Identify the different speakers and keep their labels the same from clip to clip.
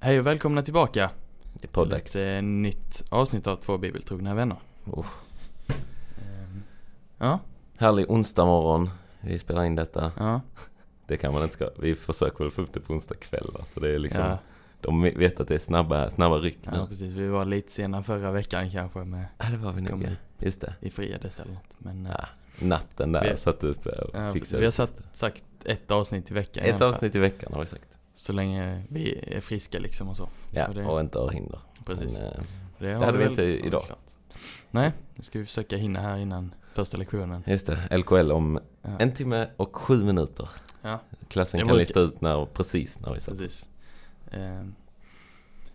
Speaker 1: Hej och välkomna tillbaka
Speaker 2: Det är
Speaker 1: till
Speaker 2: poddags.
Speaker 1: ett eh, nytt avsnitt av Två bibeltrogna vänner.
Speaker 2: Oh.
Speaker 1: Ehm, Ja,
Speaker 2: Härlig onsdag morgon. Vi spelar in detta.
Speaker 1: ja,
Speaker 2: Det kan man inte ska. Vi försöker väl få upp det på onsdag kväll. va? Så det är liksom,
Speaker 1: ja,
Speaker 2: De vet att det är snabba, snabba ryck nu.
Speaker 1: ja, precis. Vi var lite sena förra veckan kanske med
Speaker 2: Ja, det var vi nog.
Speaker 1: Kommer.
Speaker 2: ja. Just det.
Speaker 1: i fredags eller något. Men eh,
Speaker 2: Ja, Natten där
Speaker 1: Vi-
Speaker 2: satt uppe och
Speaker 1: ja, precis.
Speaker 2: fixade.
Speaker 1: vi har satt, sagt ett avsnitt i veckan. i
Speaker 2: Ett
Speaker 1: alla fall.
Speaker 2: avsnitt i veckan har vi sagt.
Speaker 1: Så länge vi är friska liksom och så.
Speaker 2: Ja,
Speaker 1: Och det-
Speaker 2: och inte har hinder.
Speaker 1: Precis.
Speaker 2: Men, eh,
Speaker 1: det har
Speaker 2: hade vi
Speaker 1: väl-
Speaker 2: inte i- idag.
Speaker 1: klart. Nej, nu ska vi försöka hinna här innan första lektionen.
Speaker 2: just det, LKL om
Speaker 1: Ja,
Speaker 2: en timme och sju minuter.
Speaker 1: Ja.
Speaker 2: Klassen
Speaker 1: Jag
Speaker 2: kan
Speaker 1: brukar-
Speaker 2: lista ut när, precis när vi satt.
Speaker 1: precis. Ehm,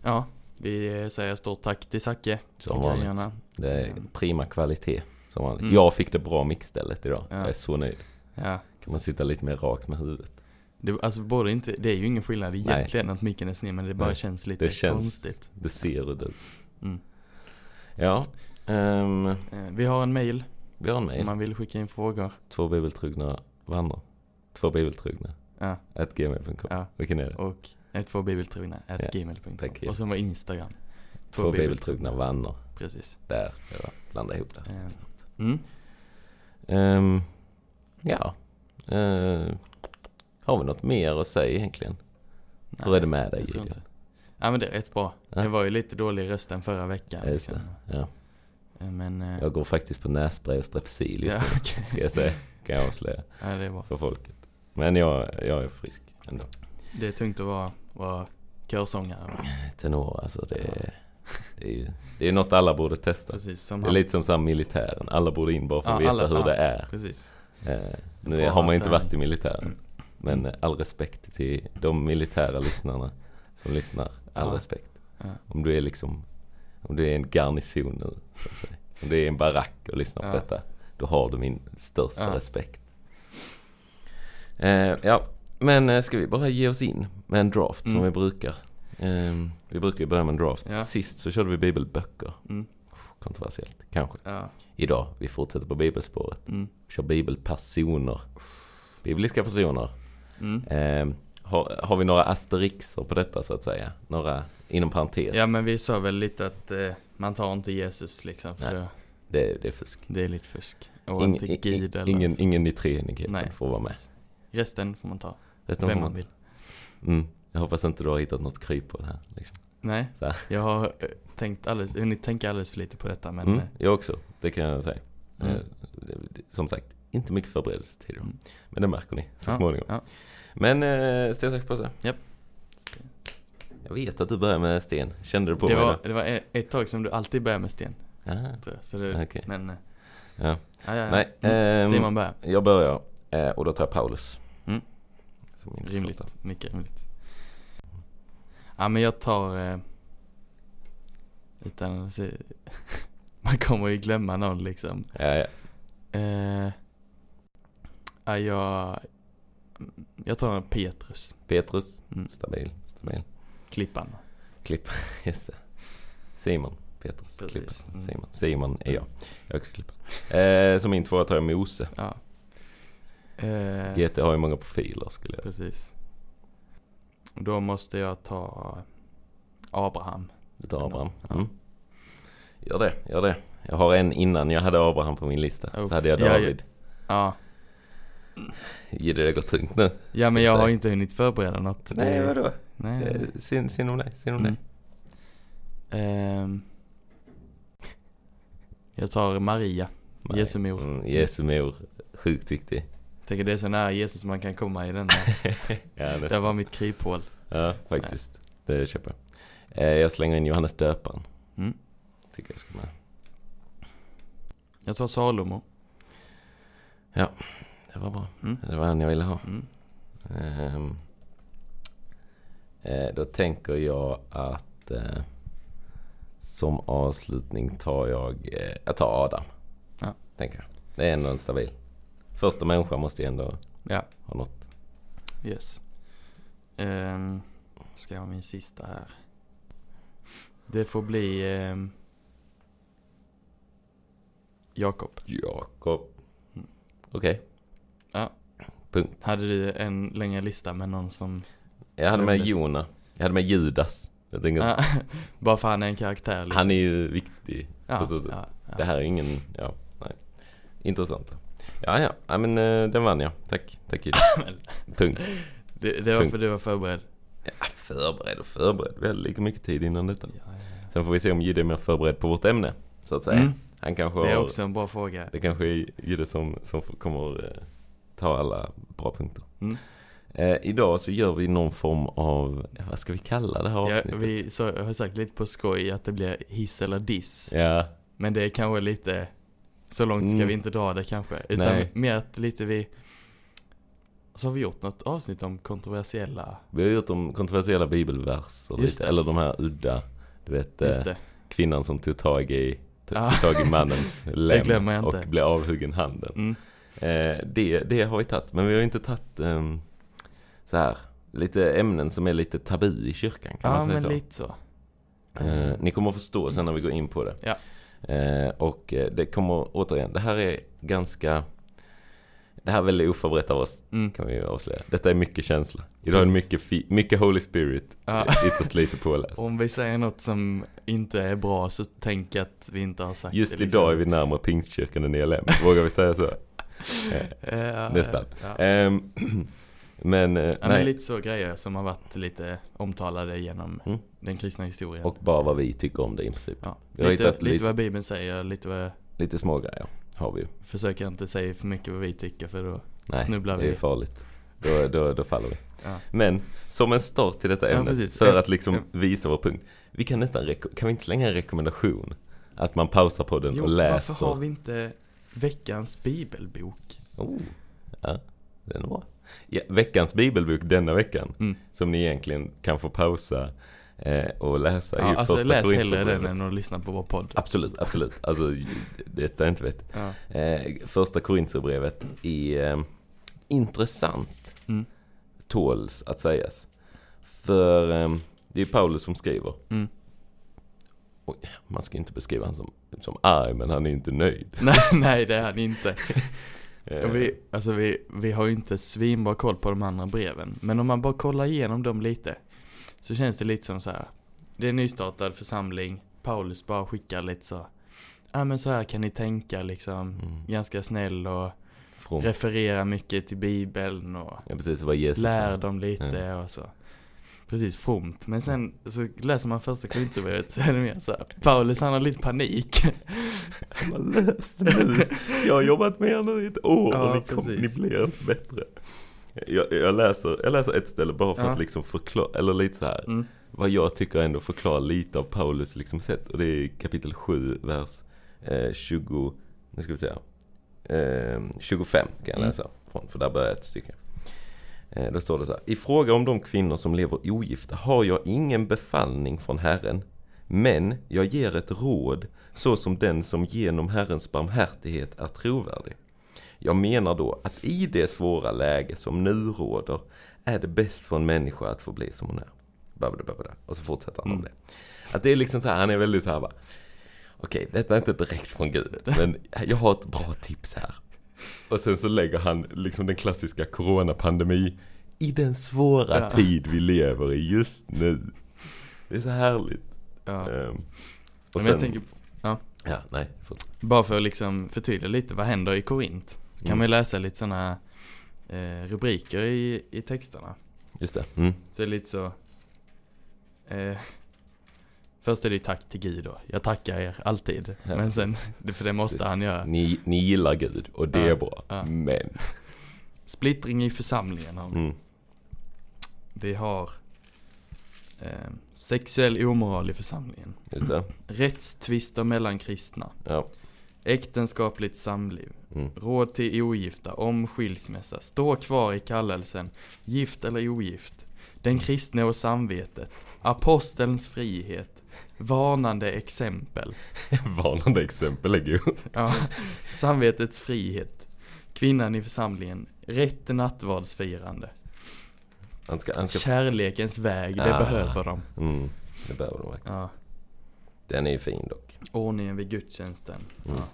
Speaker 1: Ja, vi eh, säger stort tack till Zacke.
Speaker 2: Som
Speaker 1: Tackar
Speaker 2: vanligt.
Speaker 1: gärna.
Speaker 2: Det är
Speaker 1: Mm.
Speaker 2: prima kvalitet. Som vanligt.
Speaker 1: Mm.
Speaker 2: Jag fick det bra mixstället idag.
Speaker 1: Ja.
Speaker 2: Jag är så nöjd.
Speaker 1: Ja.
Speaker 2: Kan man sitta lite mer rakt med huvudet.
Speaker 1: Det, alltså både inte, det är ju ingen skillnad egentligen att micken är sned men det bara
Speaker 2: Nej,
Speaker 1: känns lite
Speaker 2: Det känns,
Speaker 1: konstigt.
Speaker 2: det ser hur det ut.
Speaker 1: Mm.
Speaker 2: Ja, ehm,
Speaker 1: Eh, Vi har en mail
Speaker 2: vi har en
Speaker 1: om
Speaker 2: mejl.
Speaker 1: man vill skicka in frågor.
Speaker 2: Två bibeltrogna vänner. Två bibeltrogna.
Speaker 1: Ja,
Speaker 2: At gmail.com.
Speaker 1: ja.
Speaker 2: Vilken är det?
Speaker 1: Och ett två bibeltrogna, at
Speaker 2: Ja, tack.
Speaker 1: gmail.com. Och sen var Instagram.
Speaker 2: Två, bibeltrogna vänner.
Speaker 1: Precis.
Speaker 2: Där, jag blandade ihop det.
Speaker 1: Eh, Mm.
Speaker 2: Ehm, ja. Ehm, har vi något mer att säga egentligen? Hur
Speaker 1: Nej,
Speaker 2: är det med dig
Speaker 1: jag tror
Speaker 2: Gideon?
Speaker 1: inte. Ja men det är rätt bra.
Speaker 2: Ja.
Speaker 1: Jag var ju lite dålig i rösten förra veckan.
Speaker 2: Ja, just det. Ja.
Speaker 1: Eh, Men... eh,
Speaker 2: Jag går faktiskt på nässpray och strepsil just
Speaker 1: ja,
Speaker 2: nu.
Speaker 1: okej.
Speaker 2: Ska jag säga. Kan jag avslöja
Speaker 1: ja, det är bra.
Speaker 2: för folket. Men jag, jag är frisk ändå.
Speaker 1: Det är tungt att vara, vara körsångare. va?
Speaker 2: Tenor alltså det
Speaker 1: Ja.
Speaker 2: är, det är ju det är något alla borde testa.
Speaker 1: Precis, som
Speaker 2: Det är
Speaker 1: han.
Speaker 2: lite som så här militären, alla borde in bara för
Speaker 1: Ja,
Speaker 2: att veta
Speaker 1: alla-
Speaker 2: hur
Speaker 1: ja.
Speaker 2: det är.
Speaker 1: Precis. Mm.
Speaker 2: Eh, nu
Speaker 1: Bra
Speaker 2: har man ju inte
Speaker 1: träning.
Speaker 2: varit i militären. Men eh, all respekt till de militära lyssnarna som lyssnar. All
Speaker 1: Ja.
Speaker 2: respekt.
Speaker 1: Ja.
Speaker 2: Om du är liksom, om du är en garnison nu, så att säga. om du är en barack och lyssnar
Speaker 1: Ja.
Speaker 2: på detta, då har du min största
Speaker 1: Ja.
Speaker 2: respekt. Eh, ja, men eh, ska vi bara ge oss in med en draft som
Speaker 1: Mm.
Speaker 2: vi brukar. Eh, vi brukar ju börja med en draft.
Speaker 1: Ja.
Speaker 2: Sist så körde vi bibelböcker.
Speaker 1: Mm.
Speaker 2: Kontroversiellt, kanske.
Speaker 1: Ja.
Speaker 2: Idag, vi fortsätter på bibelspåret.
Speaker 1: Mm.
Speaker 2: Kör bibelpersoner. Bibliska personer.
Speaker 1: Mm.
Speaker 2: Eh, har, har vi några asterixer på detta så att säga? Några inom parentes?
Speaker 1: Ja men vi sa väl lite att eh, man tar inte Jesus liksom för
Speaker 2: Nej.
Speaker 1: det,
Speaker 2: det, det är fusk.
Speaker 1: det är lite fusk. Och
Speaker 2: Ingen-
Speaker 1: inte
Speaker 2: i- i-
Speaker 1: Gud eller
Speaker 2: ingen,
Speaker 1: så.
Speaker 2: ingen i treenigheten
Speaker 1: Nej.
Speaker 2: får vara med.
Speaker 1: Resten får man ta,
Speaker 2: Resten
Speaker 1: vem
Speaker 2: får
Speaker 1: man
Speaker 2: man.
Speaker 1: vill.
Speaker 2: Mm. Jag hoppas inte du har hittat något kryphål här. Liksom.
Speaker 1: Nej,
Speaker 2: Så här.
Speaker 1: jag har eh, tänkt alldeles, hunnit tänka alldeles för lite på detta men
Speaker 2: Mm,
Speaker 1: eh,
Speaker 2: jag också, det kan jag säga.
Speaker 1: Mm.
Speaker 2: Eh, det- det- Som sagt, inte mycket förberedelse till det.
Speaker 1: Mm.
Speaker 2: Men det märker ni så
Speaker 1: Ja,
Speaker 2: småningom.
Speaker 1: ja.
Speaker 2: Men eh, sten, sax, påse.
Speaker 1: Japp.
Speaker 2: Jag vet att du börjar med sten. Kände du på
Speaker 1: det,
Speaker 2: mig?
Speaker 1: var, det var e- ett tag som du alltid började med sten.
Speaker 2: då? Ah,
Speaker 1: tror jag. Så det,
Speaker 2: Okej.
Speaker 1: Men, eh,
Speaker 2: ja.
Speaker 1: ja, ja, ja.
Speaker 2: Nej,
Speaker 1: Mm.
Speaker 2: ehm,
Speaker 1: Simon börjar.
Speaker 2: Jag börjar eh, och då tar jag Paulus.
Speaker 1: Mm.
Speaker 2: Som min första.
Speaker 1: Rimligt, mycket rimligt. Ja men jag tar... Eh, utan att se, Man kommer ju glömma någon liksom.
Speaker 2: Ja, ja.
Speaker 1: Eh, ja, jag, jag tar en Petrus.
Speaker 2: Petrus,
Speaker 1: Mm.
Speaker 2: stabil, stabil.
Speaker 1: Klippan.
Speaker 2: Klipp, just det. Simon, Petrus,
Speaker 1: Precis.
Speaker 2: Klipp.
Speaker 1: Mm.
Speaker 2: Simon. Simon är jag. Jag är också Klippan. Eh, som min tvåa tar jag Mose.
Speaker 1: Ja. Eh,
Speaker 2: GT har ju många profiler skulle jag
Speaker 1: precis. Då måste jag ta Abraham.
Speaker 2: Du tar Abraham.
Speaker 1: Ja.
Speaker 2: Mm. Gör det, gör det. Jag har en innan. Jag hade Abraham på min lista.
Speaker 1: Uff.
Speaker 2: Så hade jag
Speaker 1: Ja, ja.
Speaker 2: David.
Speaker 1: Ja,
Speaker 2: Gide, det går tungt nu.
Speaker 1: ja men
Speaker 2: jag
Speaker 1: jag har
Speaker 2: säga.
Speaker 1: inte hunnit förbereda något.
Speaker 2: Nej,
Speaker 1: Det-
Speaker 2: vadå?
Speaker 1: Nej, nej, nej.
Speaker 2: Eh, Synd synd om dig, synd om
Speaker 1: Mm.
Speaker 2: dig.
Speaker 1: Ehm. jag tar Maria.
Speaker 2: Nej.
Speaker 1: Jesu mor.
Speaker 2: Mm, Jesu mor. Sjukt viktig.
Speaker 1: Tänker det är så nära Jesus man kan komma i den här.
Speaker 2: Ja,
Speaker 1: Det var mitt kryphål.
Speaker 2: Ja, faktiskt. Det köper jag. Eh, jag slänger in Johannes Döparen.
Speaker 1: Mm.
Speaker 2: Tycker jag ska med.
Speaker 1: Jag tar Salomo.
Speaker 2: Det var bra.
Speaker 1: Mm.
Speaker 2: Det var han jag ville ha.
Speaker 1: Mm.
Speaker 2: Ehm, eh, då tänker jag att eh, som avslutning tar jag, eh, jag tar Adam.
Speaker 1: Ja.
Speaker 2: Tänker jag. Det är ändå en stabil. Första människan måste ju ändå
Speaker 1: Ja,
Speaker 2: ha något.
Speaker 1: yes. Ehm, ska jag ha min sista här? Det får bli ehm, Jakob.
Speaker 2: Jakob.
Speaker 1: Mm.
Speaker 2: Okej.
Speaker 1: Ja.
Speaker 2: Punkt.
Speaker 1: Hade du en längre lista med någon som...
Speaker 2: Jag hade med
Speaker 1: Lämnas.
Speaker 2: Jona. Jag hade med Judas. Jag tänker,
Speaker 1: Ja, Bara för han är en karaktär liksom.
Speaker 2: han är ju viktig.
Speaker 1: ja,
Speaker 2: på så sätt.
Speaker 1: ja, ja.
Speaker 2: Det här är ingen, ja, nej. Intressant. Ja, ja, ja men eh, den vann jag. Tack, tack Kid. Punkt.
Speaker 1: det, det var
Speaker 2: Punkt.
Speaker 1: för du var förberedd.
Speaker 2: Ja, förberedd och förberedd. Vi hade lika mycket tid innan detta.
Speaker 1: Ja, ja, ja.
Speaker 2: Sen får vi se om Jidde är mer förberedd på vårt ämne, så att säga.
Speaker 1: Mm.
Speaker 2: Han kanske
Speaker 1: Det är
Speaker 2: har,
Speaker 1: också en bra fråga.
Speaker 2: det kanske är Jidde som, som får- kommer eh, ta alla bra punkter.
Speaker 1: Mm.
Speaker 2: Eh, idag så gör vi någon form av, ja, vad ska vi kalla det här
Speaker 1: Ja,
Speaker 2: avsnittet?
Speaker 1: vi sa, jag har sagt lite på skoj att det blir hiss eller diss.
Speaker 2: Ja,
Speaker 1: Men det är kanske lite, så långt ska
Speaker 2: Mm.
Speaker 1: vi inte dra det kanske. Utan
Speaker 2: Nej.
Speaker 1: mer att lite vi, så har vi gjort något avsnitt om kontroversiella,
Speaker 2: vi har gjort om kontroversiella bibelverser
Speaker 1: Just
Speaker 2: lite,
Speaker 1: det.
Speaker 2: eller de här udda, du vet, eh,
Speaker 1: just det.
Speaker 2: kvinnan som tog tag i, tog,
Speaker 1: Ja.
Speaker 2: tog tag i mannens lem
Speaker 1: glömmer jag
Speaker 2: och
Speaker 1: inte.
Speaker 2: blev avhuggen handen.
Speaker 1: Mm.
Speaker 2: Eh, det, det har vi tagit, men vi har inte tagit ehm, så här, lite ämnen som är lite tabu i kyrkan kan man
Speaker 1: Ja
Speaker 2: säga
Speaker 1: men
Speaker 2: så.
Speaker 1: lite så.
Speaker 2: Eh, ni kommer att förstå sen när vi går in på det.
Speaker 1: Ja.
Speaker 2: Eh, och eh, det kommer återigen, det här är ganska... Det här är väldigt oförberett av oss,
Speaker 1: Mm.
Speaker 2: kan vi ju avslöja. Detta är mycket känsla. Idag är det
Speaker 1: Precis.
Speaker 2: mycket, fi- mycket Holy Spirit, eh,
Speaker 1: Ja.
Speaker 2: ytterst lite påläst.
Speaker 1: Om vi säger något som inte är bra så tänk att vi inte har sagt
Speaker 2: Just
Speaker 1: det. liksom.
Speaker 2: idag är vi närmare Pingstkyrkan än ELM, vågar vi säga så?
Speaker 1: Eh,
Speaker 2: nästan.
Speaker 1: Ja.
Speaker 2: Ehm, men, eh,
Speaker 1: Ja, men
Speaker 2: nej.
Speaker 1: lite så grejer som har varit lite omtalade genom
Speaker 2: Mm.
Speaker 1: den kristna historien.
Speaker 2: Och bara vad vi tycker om det i princip.
Speaker 1: ja.
Speaker 2: jag har
Speaker 1: lite,
Speaker 2: hittat
Speaker 1: lite,
Speaker 2: lite-
Speaker 1: vad Bibeln säger, lite vad...
Speaker 2: Lite små grejer har vi ju.
Speaker 1: Försöker inte säga för mycket vad vi tycker för då...
Speaker 2: Nej,
Speaker 1: Snubblar
Speaker 2: det är
Speaker 1: vi.
Speaker 2: farligt. Då, då, då faller vi.
Speaker 1: Ja.
Speaker 2: Men som en start till detta
Speaker 1: Ja,
Speaker 2: ämnet,
Speaker 1: precis.
Speaker 2: för
Speaker 1: Ä-
Speaker 2: att liksom
Speaker 1: ä-
Speaker 2: visa vår punkt. Vi kan nästan, reko- kan vi inte slänga en rekommendation? Att man pausar podden
Speaker 1: Jo,
Speaker 2: och läser.
Speaker 1: varför har vi inte veckans bibelbok?
Speaker 2: oh, ja, den var. Ja, veckans bibelbok denna veckan,
Speaker 1: Mm.
Speaker 2: som ni egentligen kan få pausa eh, och läsa
Speaker 1: Ja,
Speaker 2: i
Speaker 1: alltså
Speaker 2: första Ah.
Speaker 1: läs hellre
Speaker 2: Korintierbrevet.
Speaker 1: den än att lyssna på vår podd.
Speaker 2: Absolut, absolut. Alltså, detta är inte vett.
Speaker 1: Ja.
Speaker 2: Eh, första Korintierbrevet är eh, intressant.
Speaker 1: Mm.
Speaker 2: Tåls att sägas. För eh, det är Paulus som skriver.
Speaker 1: Mm.
Speaker 2: Oj, man ska inte beskriva honom som, som arg, men han är inte nöjd.
Speaker 1: Nej, nej det är han inte.
Speaker 2: Eh,
Speaker 1: Och vi, alltså vi, vi har ju inte svinbra koll på de andra breven. Men om man bara kollar igenom dem lite. Så känns det lite som så här. Det är en nystartad församling. Paulus bara skickar lite så. Ja men så här kan ni tänka liksom.
Speaker 2: Mm,
Speaker 1: Ganska snäll och
Speaker 2: from.
Speaker 1: referera mycket till bibeln och
Speaker 2: Ja, precis. Vad Jesus
Speaker 1: lär
Speaker 2: sa.
Speaker 1: dem lite och så. Precis, fromt. Men sen så läser man första Korintierbrevet så är det mer så här. Paulus han har lite panik.
Speaker 2: Vad löst nu. Jag har jobbat med er nu i ett år
Speaker 1: Ja,
Speaker 2: och ni, kom, ni
Speaker 1: precis.
Speaker 2: blir inte bättre. Jag, jag, läser, jag läser ett ställe bara för
Speaker 1: Ja.
Speaker 2: att liksom förklara, eller lite så här.
Speaker 1: Mm.
Speaker 2: vad jag tycker ändå förklarar lite av Paulus liksom sätt. Och det är kapitel 7, vers eh, 20, nu ska vi säga, eh, 25 kan jag
Speaker 1: Mm.
Speaker 2: läsa från, för där börjar ett stycke. Eh, då står det så här. I fråga om de kvinnor som lever ogifta har jag ingen befallning från Herren. Men jag ger ett råd så som den som genom Herrens barmhärtighet är trovärdig. Jag menar då att i det svåra läge som nu råder är det bäst för en människa att få bli som hon är. Babbada, babbada. Och så fortsätter
Speaker 1: Mm.
Speaker 2: han om det. Att det är liksom så här, han är väldigt så här bara, Okej, detta är inte direkt från Gud, men jag har ett bra tips här. Och sen så lägger han liksom den klassiska coronapandemi i den svåra
Speaker 1: Ja.
Speaker 2: tid vi lever i just nu. Det är så härligt.
Speaker 1: Ja.
Speaker 2: Ehm, och
Speaker 1: Men
Speaker 2: sen,
Speaker 1: jag tänker,
Speaker 2: ja, nej, fortsätt.
Speaker 1: bara för att liksom förtydliga lite, vad händer i Korint? Så kan
Speaker 2: Mm.
Speaker 1: man ju läsa lite sådana eh, rubriker i, i texterna.
Speaker 2: Just det. Mm.
Speaker 1: Så det är lite så... Eh, först är det ju tack till Gud då. Jag tackar er alltid.
Speaker 2: Ja, Mm.
Speaker 1: Men sen, för det måste han göra.
Speaker 2: Ni, ni gillar Gud och det
Speaker 1: Ja,
Speaker 2: är bra.
Speaker 1: ja.
Speaker 2: Men.
Speaker 1: Splittring i församlingen har vi.
Speaker 2: Mm.
Speaker 1: Vi har eh, sexuell omoral i församlingen.
Speaker 2: Just det.
Speaker 1: Rättstvister mellan kristna.
Speaker 2: Ja.
Speaker 1: Äktenskapligt samliv.
Speaker 2: Mm.
Speaker 1: Råd till ogifta om skilsmässa. Stå kvar i kallelsen. Gift eller ogift. Den kristne och samvetet. Apostelns frihet. Varnande exempel.
Speaker 2: Varnande exempel är god.
Speaker 1: Ja, samvetets frihet. Kvinnan i församlingen. Rätt till nattvardsfirande.
Speaker 2: Han ska, han ska,
Speaker 1: Kärlekens väg, det
Speaker 2: Ah.
Speaker 1: behöver de.
Speaker 2: mm, det behöver de verkligen.
Speaker 1: Ja.
Speaker 2: Den är ju fin dock.
Speaker 1: Ordningen vid gudstjänsten.
Speaker 2: Mm.
Speaker 1: Ja.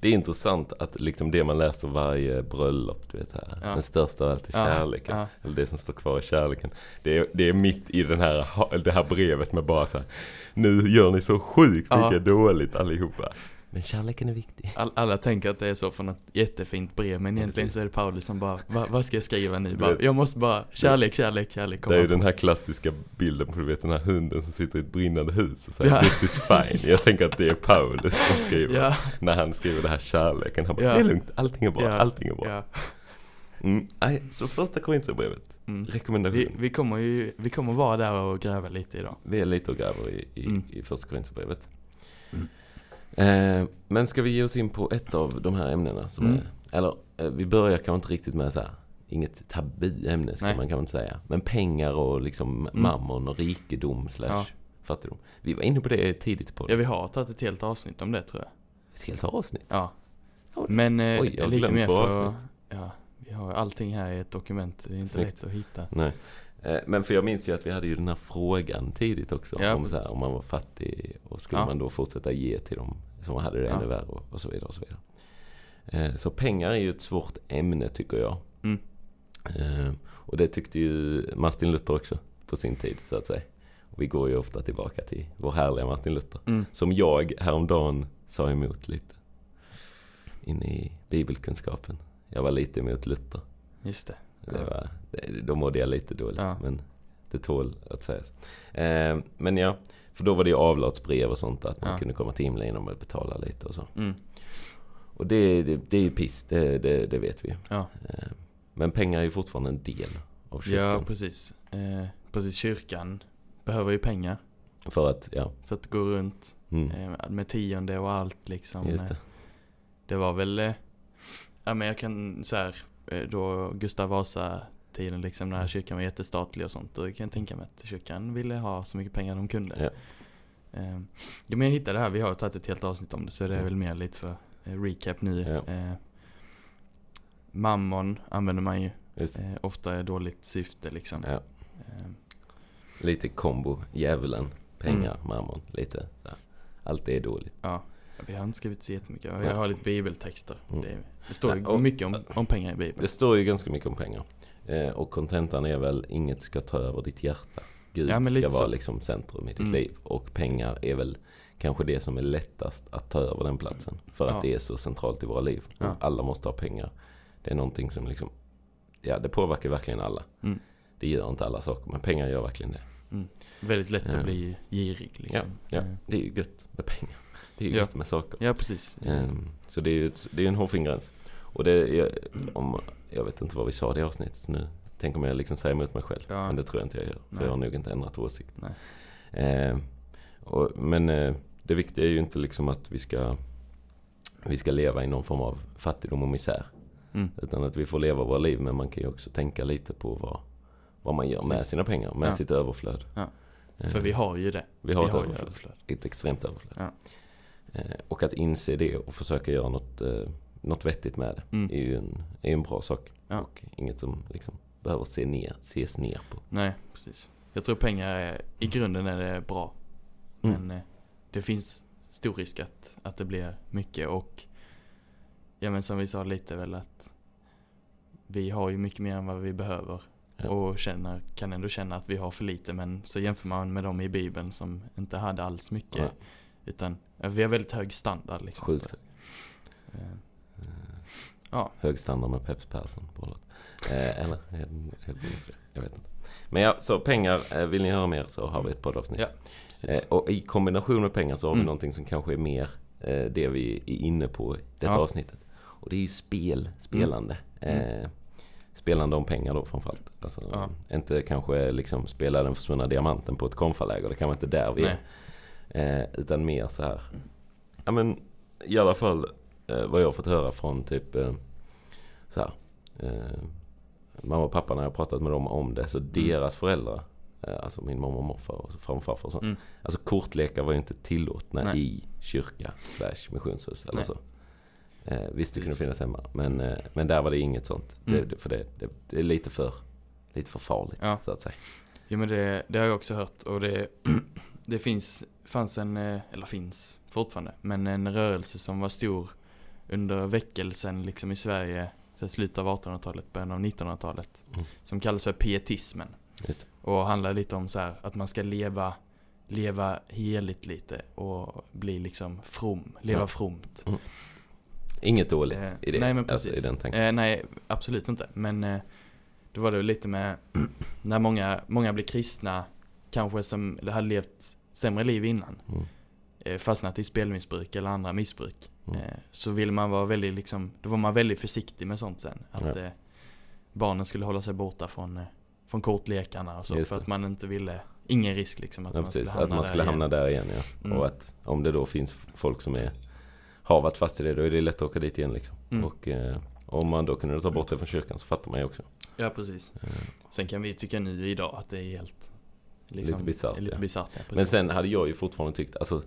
Speaker 2: Det är intressant att liksom det man läser varje bröllop, du vet här.
Speaker 1: Ja.
Speaker 2: Den största av allt är
Speaker 1: Ja,
Speaker 2: kärleken.
Speaker 1: ja.
Speaker 2: Eller det som står kvar i kärleken. Det är, det är mitt i den här, det här brevet med bara så här. Nu gör ni så sjukt
Speaker 1: Ja.
Speaker 2: mycket dåligt allihopa. Men kärleken är viktig.
Speaker 1: All, alla tänker att det är så från ett jättefint brev men
Speaker 2: Ja,
Speaker 1: egentligen
Speaker 2: precis.
Speaker 1: så är det Pauli som bara Va, Vad ska jag skriva nu?
Speaker 2: Du
Speaker 1: Bara,
Speaker 2: vet-
Speaker 1: jag måste bara Kärlek, kärlek, kärlek
Speaker 2: Det är ju
Speaker 1: han på.
Speaker 2: den här klassiska bilden på du vet den här hunden som sitter i ett brinnande hus och säger
Speaker 1: Ja.
Speaker 2: this is fine. Jag tänker att det är Paulus som skriver.
Speaker 1: Ja,
Speaker 2: När han skriver det här kärleken. Han bara
Speaker 1: Ja.
Speaker 2: det är lugnt, allting är bra,
Speaker 1: Ja.
Speaker 2: allting är bra.
Speaker 1: ja.
Speaker 2: Mm. Aj, så första Korintierbrevet,
Speaker 1: Mm.
Speaker 2: rekommendation.
Speaker 1: Vi,
Speaker 2: Vi,
Speaker 1: vi kommer ju Vi kommer vara där och gräva lite idag
Speaker 2: är lite och gräver i, i,
Speaker 1: Mm.
Speaker 2: i första Korintierbrevet.
Speaker 1: Mm.
Speaker 2: Eh, men ska vi ge oss in på ett av de här ämnena? Som
Speaker 1: Mm.
Speaker 2: är, eller eh, vi börjar kanske inte riktigt med så här, inget tabuämne ska
Speaker 1: Nej.
Speaker 2: man kanske inte säga. Men pengar och liksom
Speaker 1: Mm.
Speaker 2: mammon och rikedom slash
Speaker 1: Ja.
Speaker 2: fattigdom. Vi var inne på det tidigt på
Speaker 1: Ja vi har tagit ett helt avsnitt om det tror jag
Speaker 2: ett helt avsnitt.
Speaker 1: Ja
Speaker 2: Oj,
Speaker 1: Men eh,
Speaker 2: oj, jag har
Speaker 1: lite
Speaker 2: glömt
Speaker 1: mer
Speaker 2: våra
Speaker 1: för att,
Speaker 2: avsnitt.
Speaker 1: Ja Vi har allting här i ett dokument Det är inte
Speaker 2: Snyggt.
Speaker 1: lätt att hitta
Speaker 2: Nej. Eh, Men för jag minns ju att vi hade ju den här frågan tidigt också.
Speaker 1: Ja,
Speaker 2: om, så här,
Speaker 1: precis.
Speaker 2: om man var fattig och skulle
Speaker 1: Ja.
Speaker 2: man då fortsätta ge till dem som hade det
Speaker 1: Ja.
Speaker 2: ännu värre och, och så vidare. Och så, vidare. Eh, så pengar är ju ett svårt ämne tycker jag.
Speaker 1: Mm.
Speaker 2: Eh, Och det tyckte ju Martin Luther också på sin tid så att säga. Och vi går ju ofta tillbaka till vår härliga Martin Luther.
Speaker 1: mm.
Speaker 2: Som jag häromdagen sa emot lite. Inne i bibelkunskapen. Jag var lite emot Luther.
Speaker 1: Just det
Speaker 2: Det var, det, då mådde jag lite dåligt.
Speaker 1: Ja.
Speaker 2: Men det tål att sägas. Eh, men ja, för då var det ju avlatsbrev och sånt. Att man
Speaker 1: Ja.
Speaker 2: kunde komma till himlen genom att betala lite och så.
Speaker 1: mm.
Speaker 2: Och det, det, det är ju piss, det, det, det vet vi ju.
Speaker 1: Ja
Speaker 2: Eh, men pengar är ju fortfarande en del av
Speaker 1: Ja
Speaker 2: kyrkan.
Speaker 1: precis eh, Precis kyrkan Behöver ju pengar
Speaker 2: för att, ja.
Speaker 1: För att gå runt
Speaker 2: Mm,
Speaker 1: Eh, Med tionde och allt liksom.
Speaker 2: just det.
Speaker 1: Eh, det var väl, eh, ja men jag kan så här, eh, då Gustav Vasa-tiden liksom
Speaker 2: Mm.
Speaker 1: när kyrkan var jättestatlig och sånt. Då kan jag tänka mig att kyrkan ville ha så mycket pengar de kunde.
Speaker 2: Ja.
Speaker 1: Eh, jo men jag hittade det här, vi har tagit ett helt avsnitt om det så det är
Speaker 2: Mm.
Speaker 1: väl mer lite för eh, recap nu.
Speaker 2: Ja.
Speaker 1: Eh, mammon använder man ju
Speaker 2: Just,
Speaker 1: eh, ofta i dåligt syfte liksom.
Speaker 2: Ja.
Speaker 1: Eh,
Speaker 2: lite kombo, djävulen, pengar,
Speaker 1: Mm.
Speaker 2: mammon. Lite så här. Allt är dåligt.
Speaker 1: Ja, vi har inte skrivit så jättemycket.
Speaker 2: Nej.
Speaker 1: Jag har lite bibeltexter.
Speaker 2: Mm.
Speaker 1: Det, det står
Speaker 2: Nej,
Speaker 1: ju
Speaker 2: och-
Speaker 1: mycket om, om pengar i
Speaker 2: Det
Speaker 1: bibeln.
Speaker 2: står ju ganska mycket om pengar. Eh, och kontentan är väl inget ska ta över ditt hjärta. Gud
Speaker 1: Ja, men
Speaker 2: ska
Speaker 1: lite
Speaker 2: vara
Speaker 1: så.
Speaker 2: liksom centrum i ditt
Speaker 1: Mm.
Speaker 2: liv. Och pengar är väl kanske det som är lättast att ta över den platsen. För
Speaker 1: Ja.
Speaker 2: att det är så centralt i våra liv. Och
Speaker 1: Ja.
Speaker 2: Alla måste ha pengar. Det är någonting som liksom, ja det påverkar verkligen alla.
Speaker 1: Mm.
Speaker 2: Det gör inte alla saker, men pengar gör verkligen det.
Speaker 1: Väldigt lätt
Speaker 2: Ja.
Speaker 1: att bli girig liksom.
Speaker 2: Ja,
Speaker 1: Eh,
Speaker 2: Det är ju gött med pengar. Det är ju
Speaker 1: Ja.
Speaker 2: gött med saker.
Speaker 1: ja precis.
Speaker 2: Ehm, Så det är ju ett, det är en hårfin gräns. Och det är, om, jag vet inte vad vi sa i det avsnittet nu. Tänk om jag liksom säger emot mig själv.
Speaker 1: Ja.
Speaker 2: Men det tror jag inte jag gör. För
Speaker 1: Nej.
Speaker 2: jag har nog inte ändrat åsikt.
Speaker 1: Nej.
Speaker 2: Ehm, och, men eh, det viktiga är ju inte liksom att vi ska, vi ska leva i någon form av fattigdom och misär.
Speaker 1: Mm.
Speaker 2: Utan att vi får leva våra liv. Men man kan ju också tänka lite på vad, vad man gör med
Speaker 1: Precis.
Speaker 2: sina pengar. Med
Speaker 1: Ja.
Speaker 2: sitt överflöd.
Speaker 1: Ja.
Speaker 2: Ehm,
Speaker 1: För vi har ju det.
Speaker 2: vi har
Speaker 1: vi
Speaker 2: ett
Speaker 1: har ju
Speaker 2: överflöd
Speaker 1: överflöd.
Speaker 2: ett extremt överflöd.
Speaker 1: Ja.
Speaker 2: Eh, Och att inse det och försöka göra något, eh, något vettigt med det
Speaker 1: Mm.
Speaker 2: är ju en, är ju en bra sak.
Speaker 1: Ja.
Speaker 2: Och inget som liksom behöver se ner, ses ner på.
Speaker 1: Nej, precis. Jag tror pengar är, i grunden är det bra.
Speaker 2: Mm.
Speaker 1: Men eh, det finns stor risk att, att det blir mycket och ja men som vi sa lite väl att vi har ju mycket mer än vad vi behöver
Speaker 2: Ja.
Speaker 1: och känner, kan ändå känna att vi har för lite men så jämför man med dem i bibeln som inte hade alls mycket
Speaker 2: Nej.
Speaker 1: utan eh, vi har väldigt hög standard liksom.
Speaker 2: Sjukt
Speaker 1: Eh,
Speaker 2: eh,
Speaker 1: Ja.
Speaker 2: hög standard med Peps Persson på något. Eh, Eller? Helt, helt, enkelt. jag vet inte. Men ja, så pengar. eh, Vill ni höra mer så har vi ett poddavsnitt.
Speaker 1: Ja, precis.
Speaker 2: Eh, och i kombination med pengar så har vi
Speaker 1: Mm.
Speaker 2: någonting som kanske är mer eh, det vi är inne på i detta
Speaker 1: Ja.
Speaker 2: avsnittet. Och det är ju spel, spelande.
Speaker 1: Mm.
Speaker 2: Eh, spelande om pengar då framförallt. Alltså,
Speaker 1: Ja.
Speaker 2: Inte kanske liksom spela den försvunna diamanten på ett konfaläger. Det kan vara inte där vi
Speaker 1: Nej.
Speaker 2: är. Eh, utan mer så här. Ja men i alla fall eh, vad jag har fått höra från typ eh, så här. Eh, mamma och pappa när jag har pratat med dem om det. Så
Speaker 1: Mm.
Speaker 2: deras föräldrar. eh, Alltså min mamma och morfar och framfarfar och sånt.
Speaker 1: Mm.
Speaker 2: Alltså kortlekar var ju inte tillåtna
Speaker 1: Nej.
Speaker 2: i kyrka slash missionshus eller
Speaker 1: Nej.
Speaker 2: så. Eh, visst det kunde
Speaker 1: Precis.
Speaker 2: finnas hemma. Men, eh, men där var det inget sånt. Det,
Speaker 1: Mm.
Speaker 2: det, för det, det, det är lite för, lite för farligt
Speaker 1: Ja.
Speaker 2: så att säga.
Speaker 1: Jo men det, det har jag också hört och det, det finns, fanns en, eh, eller finns fortfarande, men en rörelse som var stor under väckelsen liksom i Sverige så här slutet av 1800-talet, början av 1900-talet.
Speaker 2: Mm.
Speaker 1: Som kallas för pietismen.
Speaker 2: Just det.
Speaker 1: Och handlar lite om så här, att man ska leva, leva heligt lite och bli liksom from, leva
Speaker 2: Mm.
Speaker 1: fromt.
Speaker 2: Inget dåligt
Speaker 1: Eh,
Speaker 2: i det.
Speaker 1: nej, men
Speaker 2: Alltså, i
Speaker 1: precis.
Speaker 2: den tanken.
Speaker 1: Eh, nej, absolut inte. Men eh, det var det väl lite med när många, många blir kristna, kanske som hade levt sämre liv innan,
Speaker 2: Mm.
Speaker 1: eh, fastnat i spelmissbruk eller andra missbruk.
Speaker 2: Mm.
Speaker 1: Eh, så ville man vara väldigt, liksom, då var man väldigt försiktig med sånt sen. Att
Speaker 2: Ja.
Speaker 1: eh, barnen skulle hålla sig borta från, eh, från kortlekarna och så.
Speaker 2: Just
Speaker 1: För
Speaker 2: det.
Speaker 1: att man inte ville, ingen risk liksom att
Speaker 2: ja,
Speaker 1: man skulle
Speaker 2: precis.
Speaker 1: hamna
Speaker 2: Att man
Speaker 1: där
Speaker 2: skulle
Speaker 1: igen.
Speaker 2: hamna där igen ja.
Speaker 1: Mm.
Speaker 2: Och att om det då finns folk som är, har varit fast i det, då är det lätt att åka dit igen liksom.
Speaker 1: Mm.
Speaker 2: Och eh, om man då kunde ta bort det från kyrkan så fattar man ju också.
Speaker 1: Ja, precis.
Speaker 2: Eh,
Speaker 1: Sen kan vi ju tycka nu idag att det är helt liksom,
Speaker 2: Lite bisarrt,
Speaker 1: Lite
Speaker 2: ja.
Speaker 1: bisarrt ja, precis.
Speaker 2: Men sen hade jag ju fortfarande tyckt, alltså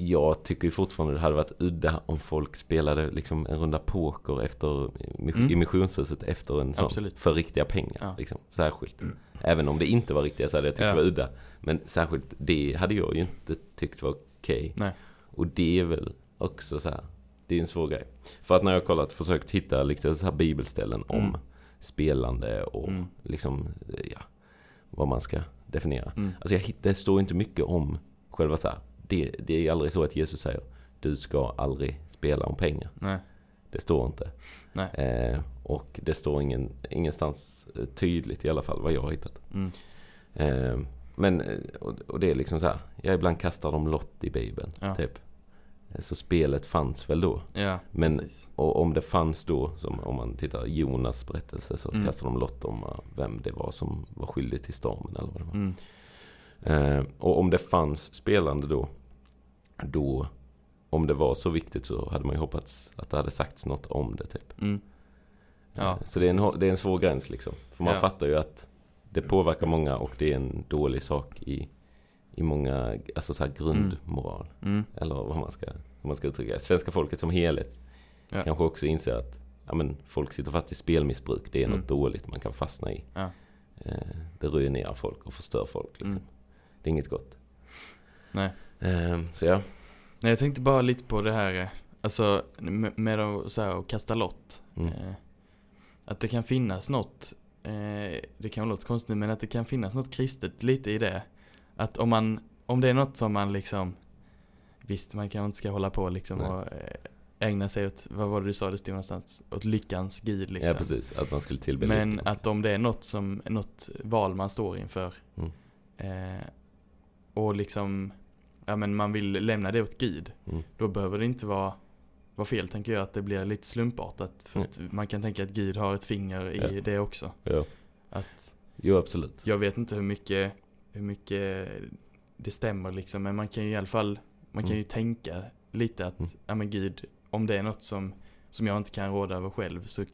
Speaker 2: jag tycker ju fortfarande det hade varit udda om folk spelade liksom en runda poker efter,
Speaker 1: Mm.
Speaker 2: i missionshuset efter en sån.
Speaker 1: Absolut.
Speaker 2: För riktiga pengar.
Speaker 1: Ja. Mm.
Speaker 2: Liksom, särskilt. Även om det inte var riktiga så hade jag tyckt
Speaker 1: Ja.
Speaker 2: det var udda. Men särskilt det hade jag ju inte tyckt var okej.
Speaker 1: Nej.
Speaker 2: Och det är väl också så här. Det är en svår grej. För att när jag har kollat, försökt hitta liksom så här bibelställen om
Speaker 1: Mm.
Speaker 2: spelande och
Speaker 1: Mm.
Speaker 2: liksom, ja, vad man ska definiera.
Speaker 1: Mm.
Speaker 2: Alltså jag hittar, det står inte mycket om själva så här. Det, det är aldrig så att Jesus säger du ska aldrig spela om pengar.
Speaker 1: Nej.
Speaker 2: Det står inte.
Speaker 1: Nej.
Speaker 2: Eh, och det står ingen, ingenstans eh, tydligt i alla fall vad jag har hittat.
Speaker 1: Mm.
Speaker 2: Eh, men, eh, och, och det är liksom så här. Jag ibland kastar de lott i Bibeln.
Speaker 1: Ja.
Speaker 2: Typ. Eh, Så spelet fanns väl då.
Speaker 1: Ja,
Speaker 2: Men-
Speaker 1: precis.
Speaker 2: Och om det fanns då, som om man tittar i Jonas berättelse, så
Speaker 1: Mm.
Speaker 2: kastar de lott om eh, vem det var som var skyldig till stormen eller vad det var.
Speaker 1: Mm.
Speaker 2: Eh, och om det fanns spelande då, då, om det var så viktigt så hade man ju hoppats att det hade sagts något om det typ.
Speaker 1: Mm. Ja,
Speaker 2: Eh, så det är, en, hå- det är en svår gräns liksom. För man
Speaker 1: Ja.
Speaker 2: fattar ju att det påverkar många och det är en dålig sak i, i många, alltså så här grundmoral.
Speaker 1: Mm.
Speaker 2: Eller vad man ska, vad man ska uttrycka det. Svenska folket som helhet
Speaker 1: Ja.
Speaker 2: kanske också inser att ja, men, folk sitter fast i spelmissbruk. Det är
Speaker 1: Mm.
Speaker 2: något dåligt man kan fastna i.
Speaker 1: Ja.
Speaker 2: Eh, det ruinerar folk och förstör folk. Liksom.
Speaker 1: Mm.
Speaker 2: Det är inget gott.
Speaker 1: Nej.
Speaker 2: Ehm, så ja.
Speaker 1: Nej, jag tänkte bara lite på det här, eh, alltså med, med att så här, att kasta lott.
Speaker 2: Mm.
Speaker 1: Eh, att det kan finnas något, eh, det kan låta konstigt men att det kan finnas något kristet lite i det. Att om man, om det är något som man liksom, visst man kanske inte ska hålla på liksom
Speaker 2: Nej.
Speaker 1: och eh, ägna sig åt, vad var det du sa det stod någonstans? Åt lyckans gud liksom.
Speaker 2: ja, precis. Att man skulle tillbe
Speaker 1: Men
Speaker 2: lite.
Speaker 1: att om det är något, som, något val man står inför
Speaker 2: Mm.
Speaker 1: eh, och liksom ja, men man vill lämna det åt Gud.
Speaker 2: Mm.
Speaker 1: Då behöver det inte vara, vara fel tänker jag att det blir lite slumpartat. För
Speaker 2: Mm.
Speaker 1: att man kan tänka att Gud har ett finger i
Speaker 2: Ja.
Speaker 1: det också.
Speaker 2: Ja.
Speaker 1: Att
Speaker 2: Jo, absolut.
Speaker 1: jag vet inte hur mycket, hur mycket det stämmer liksom. Men man kan ju i alla fall man kan
Speaker 2: Mm.
Speaker 1: ju tänka lite att
Speaker 2: Mm.
Speaker 1: ja, men Gud, om det är något som, som jag inte kan råda över själv så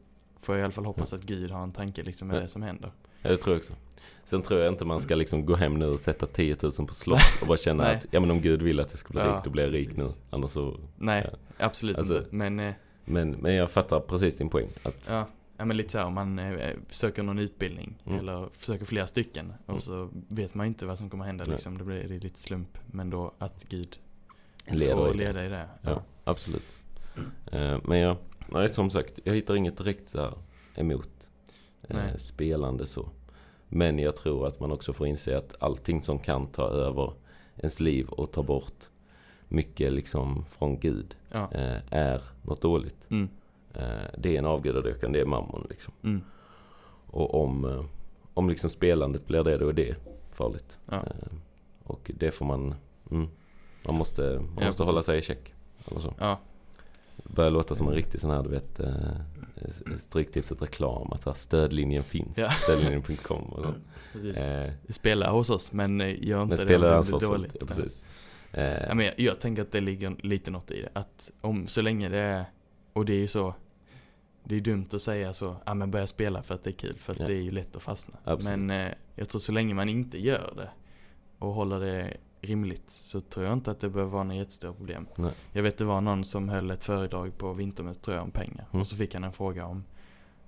Speaker 1: får jag i alla fall hoppas att Gud har en tanke liksom, med
Speaker 2: Ja.
Speaker 1: det som händer.
Speaker 2: Ja, det tror jag också. Sen tror jag inte man ska liksom gå hem nu och sätta 10 000 på slott och bara känna
Speaker 1: Nej.
Speaker 2: att ja, men om Gud vill att jag ska bli
Speaker 1: Ja,
Speaker 2: rik, då blir jag rik nu.
Speaker 1: precis.
Speaker 2: Annars så...
Speaker 1: Nej, absolut
Speaker 2: Alltså-
Speaker 1: inte. Men, eh,
Speaker 2: Men, men jag fattar precis din poäng. Att,
Speaker 1: ja, ja, men lite så här, om man eh, söker någon utbildning
Speaker 2: Mm.
Speaker 1: eller försöker flera stycken och
Speaker 2: Mm.
Speaker 1: så vet man inte vad som kommer hända
Speaker 2: Nej.
Speaker 1: liksom. Det blir det är lite slump. Men då att Gud
Speaker 2: Leder i
Speaker 1: får
Speaker 2: det.
Speaker 1: leda i det.
Speaker 2: Ja, absolut. Eh, Men jag, nej, som sagt, jag hittar inget direkt så här emot eh,
Speaker 1: Nej.
Speaker 2: spelande så. Men jag tror att man också får inse att allting som kan ta över ens liv och ta bort mycket liksom från Gud
Speaker 1: Ja.
Speaker 2: eh, är något dåligt.
Speaker 1: Mm,
Speaker 2: Eh, Det är en avgudadyrkan, det är mammon liksom.
Speaker 1: mm,
Speaker 2: Och om, eh, om liksom spelandet blir det, då är det farligt.
Speaker 1: Ja.
Speaker 2: Eh, Och det får man, mm, man måste, man
Speaker 1: Ja,
Speaker 2: måste hålla
Speaker 1: precis.
Speaker 2: sig i check. Eller så.
Speaker 1: ja,
Speaker 2: Börjar låta som en riktig sån här, du vet, eh, Stryktipset reklam. Att så här, stödlinjen finns.
Speaker 1: Ja.
Speaker 2: Stödlinjen.com och sånt.
Speaker 1: precis.
Speaker 2: Eh,
Speaker 1: Spela hos oss men eh, gör inte
Speaker 2: men
Speaker 1: det om
Speaker 2: spelar
Speaker 1: det blir
Speaker 2: ansvarsfullt. Ja, precis.
Speaker 1: Ja,
Speaker 2: Eh,
Speaker 1: men jag, jag tänker att det ligger lite något i det. Att om så länge det är, och det är ju så, det är dumt att säga så, ja men börja spela för att det är kul, för att
Speaker 2: Ja.
Speaker 1: det är ju lätt att fastna.
Speaker 2: Absolut.
Speaker 1: Men eh, jag tror så länge man inte gör det och håller det rimligt så tror jag inte att det behöver vara något jättestort problem.
Speaker 2: Nej.
Speaker 1: Jag vet det var någon som höll ett föredrag på Vintermötet tror jag om pengar
Speaker 2: Mm.
Speaker 1: och så fick han en fråga om,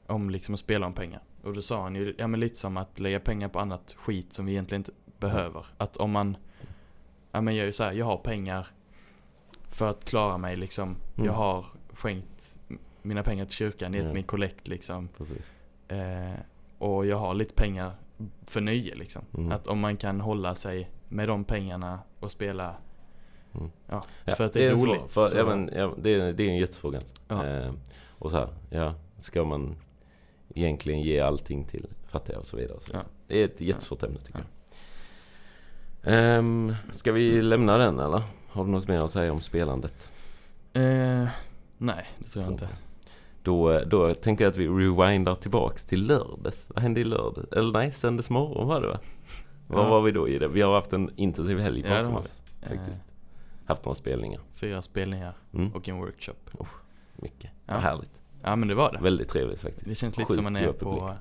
Speaker 1: om liksom att spela om pengar. Och då sa han ju, ja men lite som att lägga pengar på annat skit som vi egentligen inte behöver. Att om man Ja men jag är ju så här, jag har pengar för att klara mig liksom.
Speaker 2: Mm.
Speaker 1: Jag har skänkt mina pengar till kyrkan, gett
Speaker 2: Mm.
Speaker 1: min kollekt liksom.
Speaker 2: Precis.
Speaker 1: Eh, och jag har lite pengar för nöje liksom.
Speaker 2: Mm.
Speaker 1: Att om man kan hålla sig med de pengarna och spela
Speaker 2: Mm.
Speaker 1: ja,
Speaker 2: Ja,
Speaker 1: för att det är,
Speaker 2: en svår-
Speaker 1: roligt.
Speaker 2: För,
Speaker 1: så-
Speaker 2: ja, men, ja, det, är, det är en jättesvår gräns.
Speaker 1: Ja.
Speaker 2: Eh, och så här, ja, ska man egentligen ge allting till fattiga och så vidare? Och så
Speaker 1: Ja.
Speaker 2: vidare. Det är ett jättesvårt ämne tycker jag. Um, ska vi lämna den eller? Har du något mer att säga om spelandet?
Speaker 1: eh, nej, det tror jag inte.
Speaker 2: Då, eh, då tänker jag att vi rewindar tillbaks till lördags. Vad hände i lördags? Eller nej, söndags morgon var det va? Var
Speaker 1: Ja.
Speaker 2: var vi då i det? Vi har haft en intensiv helg
Speaker 1: Ja, det
Speaker 2: bakom
Speaker 1: har
Speaker 2: oss. Faktiskt. Haft några spelningar.
Speaker 1: Eh, fyra spelningar
Speaker 2: Mm.
Speaker 1: och en workshop.
Speaker 2: Mycket.
Speaker 1: Ja.
Speaker 2: Vad Härligt.
Speaker 1: Ja men det var det.
Speaker 2: Väldigt trevligt faktiskt.
Speaker 1: Det känns lite
Speaker 2: Sjukt
Speaker 1: som man är
Speaker 2: bra
Speaker 1: på
Speaker 2: publik.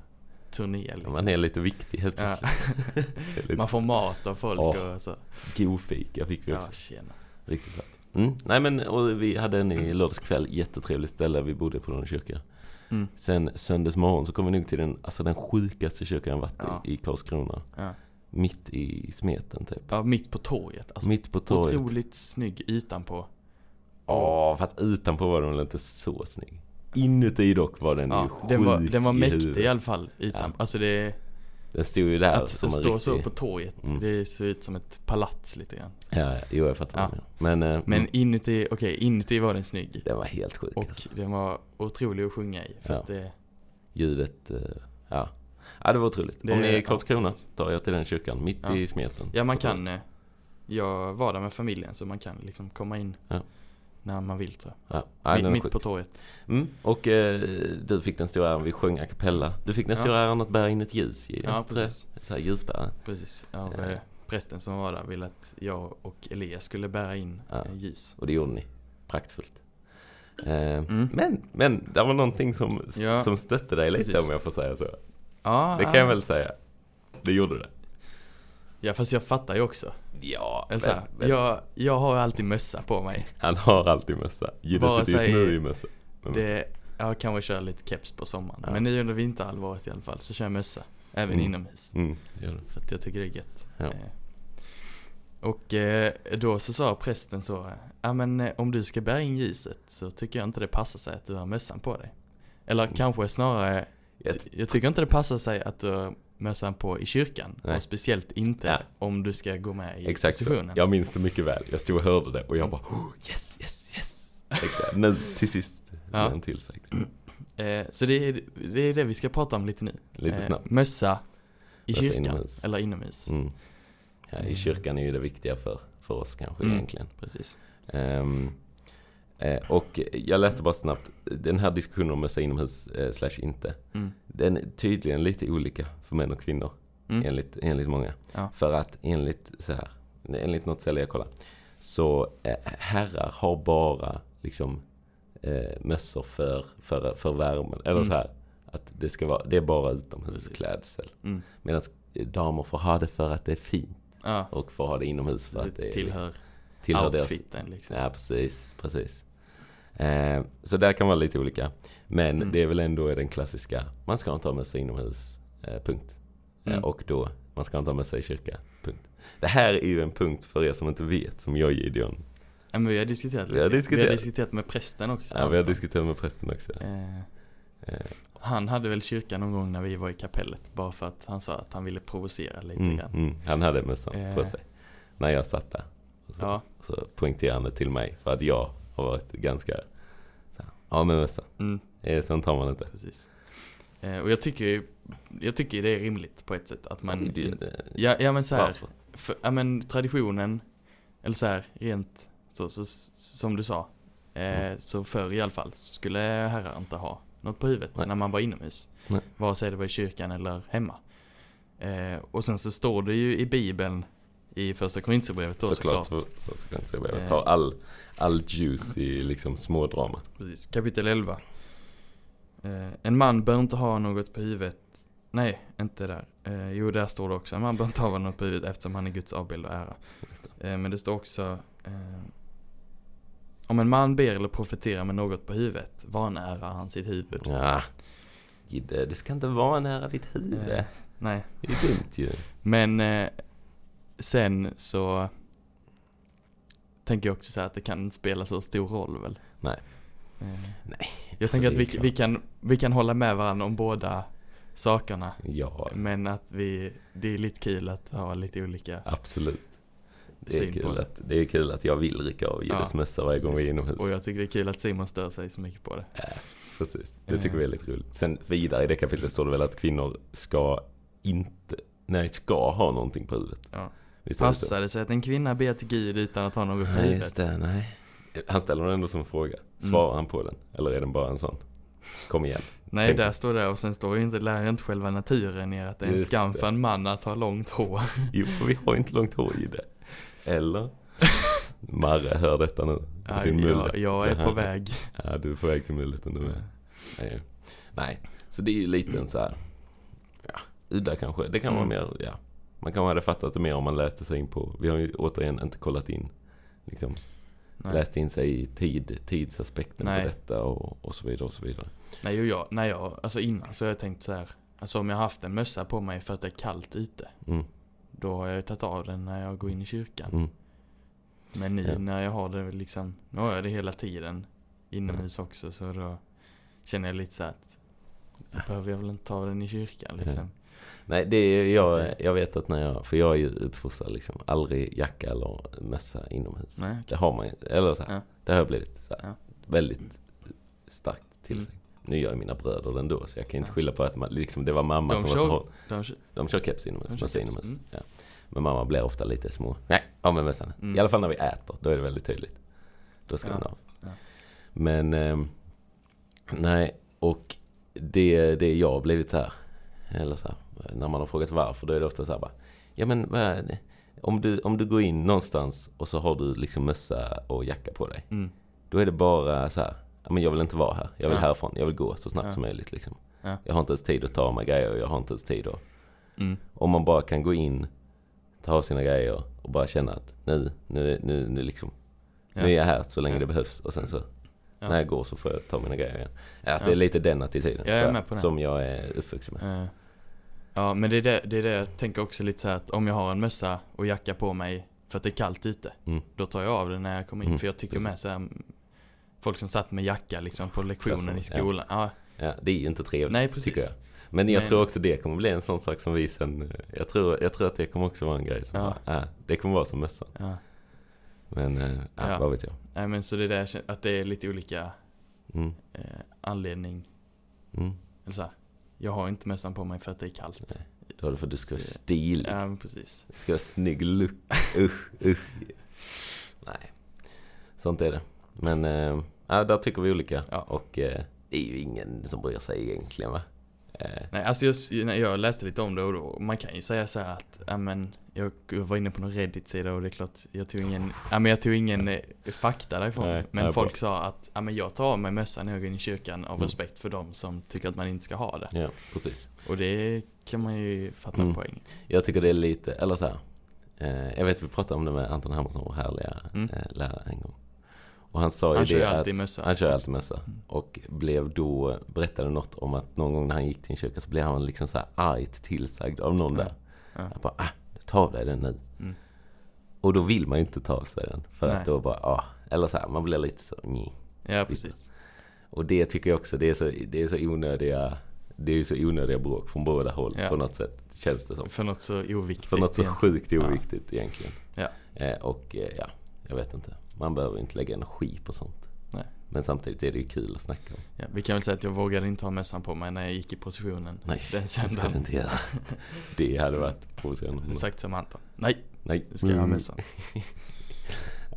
Speaker 1: turné
Speaker 2: Ja,
Speaker 1: liksom.
Speaker 2: Man är lite viktig helt
Speaker 1: Ja.
Speaker 2: plötsligt. Det är lite
Speaker 1: Man får mat av folk
Speaker 2: Typ. Ja.
Speaker 1: och så.
Speaker 2: god fika fick vi också.
Speaker 1: Ja, tjena.
Speaker 2: Riktigt flott. Mm. Nej men och vi hade en i lördagskväll, jättetrevligt ställe. Vi bodde på någon kyrka.
Speaker 1: Mm.
Speaker 2: Sen söndagsmorgon så kom vi nog till den, alltså den sjukaste kyrkan jag varit
Speaker 1: Ja.
Speaker 2: i, i Karlskrona.
Speaker 1: Ja.
Speaker 2: Mitt i smeten typ.
Speaker 1: Ja, mitt på torget. Alltså,
Speaker 2: Mitt på torget.
Speaker 1: Otroligt snygg ytan på.
Speaker 2: Ja, fast utanpå var den väl inte så snygg. Inuti dock var den ju
Speaker 1: Ja,
Speaker 2: sjuk
Speaker 1: den, var, den var
Speaker 2: i
Speaker 1: mäktig
Speaker 2: huvudet.
Speaker 1: i alla fall, ytan.
Speaker 2: Ja.
Speaker 1: Alltså det,
Speaker 2: Den stod ju där
Speaker 1: att
Speaker 2: som en
Speaker 1: stå
Speaker 2: riktig...
Speaker 1: så på torget,
Speaker 2: Mm.
Speaker 1: det ser ut som ett palats lite grann.
Speaker 2: Ja, ja, jo jag fattar
Speaker 1: Ja.
Speaker 2: vad du menar. Men, eh,
Speaker 1: Men
Speaker 2: mm,
Speaker 1: inuti, okej, inuti var den snygg.
Speaker 2: den var helt sjuk
Speaker 1: Och
Speaker 2: alltså.
Speaker 1: den var otrolig att sjunga i. För
Speaker 2: Ja.
Speaker 1: att det,
Speaker 2: ljudet. eh, Ja. ja, det var otroligt.
Speaker 1: Det-
Speaker 2: Om ni är i
Speaker 1: ja,
Speaker 2: Karlskrona,
Speaker 1: precis.
Speaker 2: ta er till den kyrkan. Mitt
Speaker 1: Ja.
Speaker 2: i smeten.
Speaker 1: ja, man
Speaker 2: På torget.
Speaker 1: kan. eh, Jag var där med familjen så man kan liksom komma in
Speaker 2: Ja.
Speaker 1: när man vill. Så.
Speaker 2: Ja, ja den
Speaker 1: Mi-
Speaker 2: är
Speaker 1: mitt
Speaker 2: sjuk.
Speaker 1: på torget.
Speaker 2: Mm. Och eh, du fick den stora äran, vi sjöng a cappella. Du fick den
Speaker 1: Ja.
Speaker 2: stora äran att bära in ett ljus. i-
Speaker 1: Ja, precis.
Speaker 2: Så här ljusbärare.
Speaker 1: Precis. Av
Speaker 2: Ja.
Speaker 1: eh, prästen som var där ville att jag och Elias skulle bära in
Speaker 2: Ja.
Speaker 1: eh, ljus.
Speaker 2: Och det gjorde ni. Praktfullt. Eh,
Speaker 1: Mm.
Speaker 2: Men, men det var någonting som,
Speaker 1: Ja.
Speaker 2: som stötte dig lite
Speaker 1: Precis.
Speaker 2: om jag får säga så.
Speaker 1: Ja,
Speaker 2: Det
Speaker 1: ja.
Speaker 2: kan jag väl säga. Det gjorde det.
Speaker 1: Ja, fast jag fattar ju också.
Speaker 2: Ja,
Speaker 1: Eller så här, jag, jag har alltid mössa på mig.
Speaker 2: Han har alltid mössa.
Speaker 1: Bara
Speaker 2: Gillar sitter just
Speaker 1: säg-
Speaker 2: nu i mössa. Med mössa.
Speaker 1: Det, jag kanske kör lite keps på sommaren.
Speaker 2: Ja.
Speaker 1: Men nu under vinterhalvåret i alla fall så kör jag mössa. Även
Speaker 2: Mm.
Speaker 1: inomhus.
Speaker 2: Mm, det gör det.
Speaker 1: För att jag tycker det är gött.
Speaker 2: Ja.
Speaker 1: Eh, Och eh, då så sa prästen så, ja men eh, om du ska bära in ljuset så tycker jag inte det passar sig att du har mössan på dig. Eller
Speaker 2: Mm.
Speaker 1: kanske snarare,
Speaker 2: Jag
Speaker 1: ty- jag tycker inte det passar sig att du har mössan på i kyrkan.
Speaker 2: Nej.
Speaker 1: Och speciellt inte
Speaker 2: Ja.
Speaker 1: om du ska gå med i
Speaker 2: Exakt så.
Speaker 1: positionen.
Speaker 2: Jag minns det mycket väl. Jag stod och hörde det och jag bara oh, yes, yes, yes. Tänkte jag. Nu till sist
Speaker 1: Ja.
Speaker 2: ja. en till säkert.
Speaker 1: Eh, så det är, det är det vi ska prata om lite nu.
Speaker 2: Lite
Speaker 1: Eh,
Speaker 2: snabbt.
Speaker 1: Mössa i
Speaker 2: Mössa
Speaker 1: kyrkan
Speaker 2: inomhus.
Speaker 1: eller inomhus.
Speaker 2: Mm. Ja, I kyrkan är ju det viktiga för, för oss kanske
Speaker 1: Mm.
Speaker 2: egentligen.
Speaker 1: Precis.
Speaker 2: Ehm, eh, och jag läste bara snabbt. Den här diskussionen om mössa inomhus eh, slash inte.
Speaker 1: Mm.
Speaker 2: Den är tydligen lite olika för män och kvinnor.
Speaker 1: Mm.
Speaker 2: Enligt, enligt många.
Speaker 1: Ja.
Speaker 2: För att enligt så här, enligt något ställe jag kollar. Så eh, herrar har bara liksom eh, mössor för, för, för värmen. Eller
Speaker 1: Mm.
Speaker 2: så här. Att det, ska vara, det är bara utomhusklädsel.
Speaker 1: Mm.
Speaker 2: Medan damer får ha det för att det är fint.
Speaker 1: Ja,
Speaker 2: Och får ha det inomhus för att det är,
Speaker 1: tillhör,
Speaker 2: tillhör deras...
Speaker 1: outfiten liksom.
Speaker 2: Ja, precis. precis. Eh, så där kan vara lite olika. Men
Speaker 1: Mm.
Speaker 2: det är väl ändå den klassiska, man ska inte ha mössa inomhus, eh, punkt.
Speaker 1: Mm.
Speaker 2: Eh, och då, man ska inte ha mössa i kyrka, punkt. Det här är ju en punkt för er som inte vet, som jag och Gideon.
Speaker 1: Ja, men vi har diskuterat
Speaker 2: Vi
Speaker 1: lite.
Speaker 2: har
Speaker 1: vi har
Speaker 2: diskuterat.
Speaker 1: diskuterat med prästen också.
Speaker 2: Ja, vi har diskuterat med prästen också.
Speaker 1: Eh,
Speaker 2: Eh,
Speaker 1: han hade väl kyrkan någon gång när vi var i kapellet. Bara för att han sa att han ville provocera lite
Speaker 2: mm,
Speaker 1: grann.
Speaker 2: mm, han hade mössan på
Speaker 1: Eh.
Speaker 2: sig. När jag satt där. Och Så,
Speaker 1: Ja,
Speaker 2: så poängterade han det till mig, för att jag har varit ganska, så här, ja men mössa,
Speaker 1: mm,
Speaker 2: eh, sånt tar man inte.
Speaker 1: precis. Eh, och jag tycker ju jag tycker det är rimligt på ett sätt att man...
Speaker 2: Det är ju
Speaker 1: in-
Speaker 2: inte-
Speaker 1: Ja, ja men så här,
Speaker 2: Varför?
Speaker 1: för, ja men traditionen, eller så här rent så, så, som du sa. Eh,
Speaker 2: Mm.
Speaker 1: så förr i alla fall så skulle herrar inte ha något på huvudet
Speaker 2: Nej.
Speaker 1: när man var inomhus.
Speaker 2: Nej.
Speaker 1: Vare sig det var i kyrkan eller hemma. Eh, och sen så står det ju i bibeln i första Korintierbrevet då såklart.
Speaker 2: Såklart. för- Såklart. Så jag behöver
Speaker 1: Eh.
Speaker 2: ta all, all juice i liksom smådrama.
Speaker 1: Precis, kapitel 11. Eh, en man bör inte ha något på huvudet. Nej, inte där. Eh, jo, där står det också. En man bör inte ha något på huvudet eftersom han är Guds avbild och ära.
Speaker 2: Just
Speaker 1: Eh, men det står också. Eh, om en man ber eller profeterar med något på huvudet, vanärar han sitt huvud.
Speaker 2: Ja. Gidde, du ska inte vara nära ditt huvud.
Speaker 1: Eh, nej,
Speaker 2: Det är dumt ju.
Speaker 1: men eh, sen så tänker jag också så här att det kan inte spela så stor roll väl.
Speaker 2: Nej.
Speaker 1: Nej. Jag tänker att
Speaker 2: det
Speaker 1: vi,
Speaker 2: är klart.
Speaker 1: vi, kan, vi kan hålla med varandra om båda sakerna.
Speaker 2: Ja,
Speaker 1: Men att vi, det är lite kul att ha lite olika.
Speaker 2: absolut. Det är,
Speaker 1: Syn på
Speaker 2: kul
Speaker 1: det.
Speaker 2: att, det är kul att jag vill rycka av Gilles
Speaker 1: Ja.
Speaker 2: mössa varje gång vi är inomhus.
Speaker 1: Och jag tycker det är kul att Simon stör sig så mycket på det.
Speaker 2: Precis, det tycker
Speaker 1: Eh.
Speaker 2: vi är lite roligt. Sen vidare i det kapitlet står det väl att kvinnor ska inte, nej ska ha någonting på huvudet.
Speaker 1: Ja.
Speaker 2: Visst är det så?
Speaker 1: Passar det sig att en kvinna ber till Gud utan att ha något på
Speaker 2: Nej,
Speaker 1: huvudet?
Speaker 2: just det, nej. Han ställer den ändå som en fråga. Svarar han på den? Eller är den bara en sån? Kom igen.
Speaker 1: Nej,
Speaker 2: Tänk-
Speaker 1: där står det och sen står det inte, lär inte själva naturen er att det är en
Speaker 2: Just
Speaker 1: skam
Speaker 2: det.
Speaker 1: för en man att ha långt hår.
Speaker 2: Jo, för vi har ju inte långt hår i det. Eller? Marre hör detta nu. på
Speaker 1: Ja,
Speaker 2: sin mulle.
Speaker 1: jag, jag
Speaker 2: Det
Speaker 1: är
Speaker 2: här-
Speaker 1: på väg.
Speaker 2: Ja, du är på väg till mulleten du med. Nej. nej, så det är ju lite en så här. Ja, udda kanske. Det kan vara
Speaker 1: Mm.
Speaker 2: mer, ja. Man kanske hade fattat det mer om man läste sig in på. Vi har ju återigen inte kollat in. Liksom,
Speaker 1: Nej.
Speaker 2: läst in sig i tid, tidsaspekten
Speaker 1: Nej.
Speaker 2: på detta och, och så vidare och så vidare.
Speaker 1: Nej, och jag, när jag, alltså innan så har jag tänkt så här. Alltså om jag har haft en mössa på mig för att det är kallt ute.
Speaker 2: Mm,
Speaker 1: Då har jag ju tagit av den när jag går in i kyrkan.
Speaker 2: mm.
Speaker 1: Men nu
Speaker 2: Ja.
Speaker 1: när jag har det liksom, nu har jag det hela tiden inomhus också så då känner jag lite så att då behöver jag väl inte ta den i kyrkan liksom.
Speaker 2: Nej, det är, jag, jag vet att när jag, för jag är ju uppfostrad liksom, aldrig jacka eller mössa inomhus.
Speaker 1: Nej.
Speaker 2: Det har man ju, eller så här,
Speaker 1: Ja.
Speaker 2: det har jag blivit så här,
Speaker 1: Ja.
Speaker 2: väldigt starkt till
Speaker 1: Mm.
Speaker 2: sig. Nu gör ju mina bröder det ändå, så jag kan inte
Speaker 1: Ja.
Speaker 2: skylla på att man, liksom, det var mamma
Speaker 1: De
Speaker 2: som var
Speaker 1: kör-
Speaker 2: så hård.
Speaker 1: De,
Speaker 2: De kör keps inomhus,
Speaker 1: De kör
Speaker 2: mössa
Speaker 1: keps,
Speaker 2: inomhus.
Speaker 1: mm.
Speaker 2: Ja. Men mamma blir ofta lite små, nej, av med mössan.
Speaker 1: Mm.
Speaker 2: I alla fall när vi äter, då är det väldigt tydligt. Då ska
Speaker 1: Ja.
Speaker 2: den av.
Speaker 1: Ja.
Speaker 2: Men, ehm, nej, och det, det jag har blivit så här, eller så här, när man har frågat varför, då är det ofta så här bara, ja men vad är det? Om du, om du går in någonstans och så har du liksom mössa och jacka på dig.
Speaker 1: mm,
Speaker 2: Då är det bara så här, ja men jag vill inte vara här. Jag vill
Speaker 1: Ja.
Speaker 2: härifrån. Jag vill gå så snabbt
Speaker 1: Ja.
Speaker 2: som möjligt liksom.
Speaker 1: Ja.
Speaker 2: Jag har inte ens tid att ta av mig grejer och jag har inte ens tid att...
Speaker 1: mm,
Speaker 2: Om man bara kan gå in, ta av sina grejer och bara känna att nu, nu, nu, nu liksom.
Speaker 1: Ja.
Speaker 2: Nu är jag här så länge
Speaker 1: Ja.
Speaker 2: det behövs och sen så
Speaker 1: Ja.
Speaker 2: när jag går så får jag ta mina grejer igen. Att
Speaker 1: Ja.
Speaker 2: det är lite den attityden
Speaker 1: Jag är
Speaker 2: tror
Speaker 1: med på det.
Speaker 2: som jag är uppvuxen med.
Speaker 1: eh, ja men det är det, det är det jag tänker också lite så här att om jag har en mössa och jacka på mig för att det är kallt ute.
Speaker 2: Mm.
Speaker 1: Då tar jag av den när jag kommer in
Speaker 2: Mm,
Speaker 1: för jag tycker
Speaker 2: precis.
Speaker 1: med så här, folk som satt med jacka liksom på lektionen
Speaker 2: Klasserna,
Speaker 1: i skolan. Ja.
Speaker 2: Ja, det är ju inte trevligt
Speaker 1: Nej
Speaker 2: tycker jag.
Speaker 1: precis.
Speaker 2: Men jag
Speaker 1: Nej.
Speaker 2: tror också det kommer bli en sån sak som vi sen, eh, jag tror, jag tror att det kommer också vara en grej som
Speaker 1: Ja.
Speaker 2: bara, ah, det kommer vara som mössan.
Speaker 1: Ja.
Speaker 2: Men eh, ja,
Speaker 1: Ja.
Speaker 2: vad vet jag.
Speaker 1: Nej men så det är det jag känner, att det är lite olika
Speaker 2: Mm.
Speaker 1: eh, anledning
Speaker 2: Mm.
Speaker 1: Eller så här, jag har inte mössan på mig för att det är kallt.
Speaker 2: Då har du för att du ska vara
Speaker 1: Så-
Speaker 2: stilig.
Speaker 1: Ja, men precis.
Speaker 2: Du ska ha snygg look. Usch, usch. Nej. Sånt är det. Men eh, ja, där tycker vi olika.
Speaker 1: Ja.
Speaker 2: Och eh, det är ju ingen som bryr sig egentligen va? Eh,
Speaker 1: Nej, alltså just när jag läste lite om det och då, man kan ju säga så här att, ja men, jag var inne på någon Reddit-sida och det är klart, jag tog ingen, ja men jag tog ingen eh, fakta därifrån.
Speaker 2: Nej,
Speaker 1: men
Speaker 2: nej,
Speaker 1: folk sa att, ja men jag tar av mig mössan när jag går in i kyrkan av
Speaker 2: Mm.
Speaker 1: respekt för dem som tycker att man inte ska ha det.
Speaker 2: ja, precis.
Speaker 1: Och det kan man ju fatta
Speaker 2: Mm.
Speaker 1: en poäng.
Speaker 2: Jag tycker det är lite, eller så här. Eh, jag vet vi pratade om det med Anton Hammarsson, vår härliga
Speaker 1: Mm.
Speaker 2: eh, lärare en gång. Och han sa
Speaker 1: Han
Speaker 2: ju
Speaker 1: kör
Speaker 2: det
Speaker 1: ju
Speaker 2: att
Speaker 1: alltid mössa.
Speaker 2: Han kör ju alltid mössa.
Speaker 1: Mm.
Speaker 2: Och blev då, berättade något om att någon gång när han gick till en kyrka så blev han liksom så här argt tillsagd av någon
Speaker 1: Ja.
Speaker 2: där.
Speaker 1: Ja.
Speaker 2: Han bara, ah, ta av dig den nu.
Speaker 1: Mm.
Speaker 2: Och då vill man ju inte ta av sig den. För
Speaker 1: Nej.
Speaker 2: att då bara, ah. Eller så här, man blir lite så, nej.
Speaker 1: Ja, precis.
Speaker 2: Och det tycker jag också, det är så, det är så onödiga, det är så onödiga bråk från båda håll
Speaker 1: Ja.
Speaker 2: på något sätt. Känns det som.
Speaker 1: För något så oviktigt.
Speaker 2: För något så
Speaker 1: igen.
Speaker 2: sjukt
Speaker 1: Ja.
Speaker 2: oviktigt egentligen.
Speaker 1: Ja.
Speaker 2: Eh, och eh, ja, jag vet inte. Man behöver inte lägga energi på sånt.
Speaker 1: Nej.
Speaker 2: Men samtidigt är det ju kul att snacka om.
Speaker 1: Ja, vi kan väl säga att jag vågade inte ha mössan på mig när jag gick i positionen
Speaker 2: Nej,
Speaker 1: den
Speaker 2: Det ska du
Speaker 1: söndagen.
Speaker 2: inte göra. Det hade varit provocerande. på något.
Speaker 1: Exakt som Anton. Nej,
Speaker 2: Nej. Mm.
Speaker 1: nu ska jag ha mössan.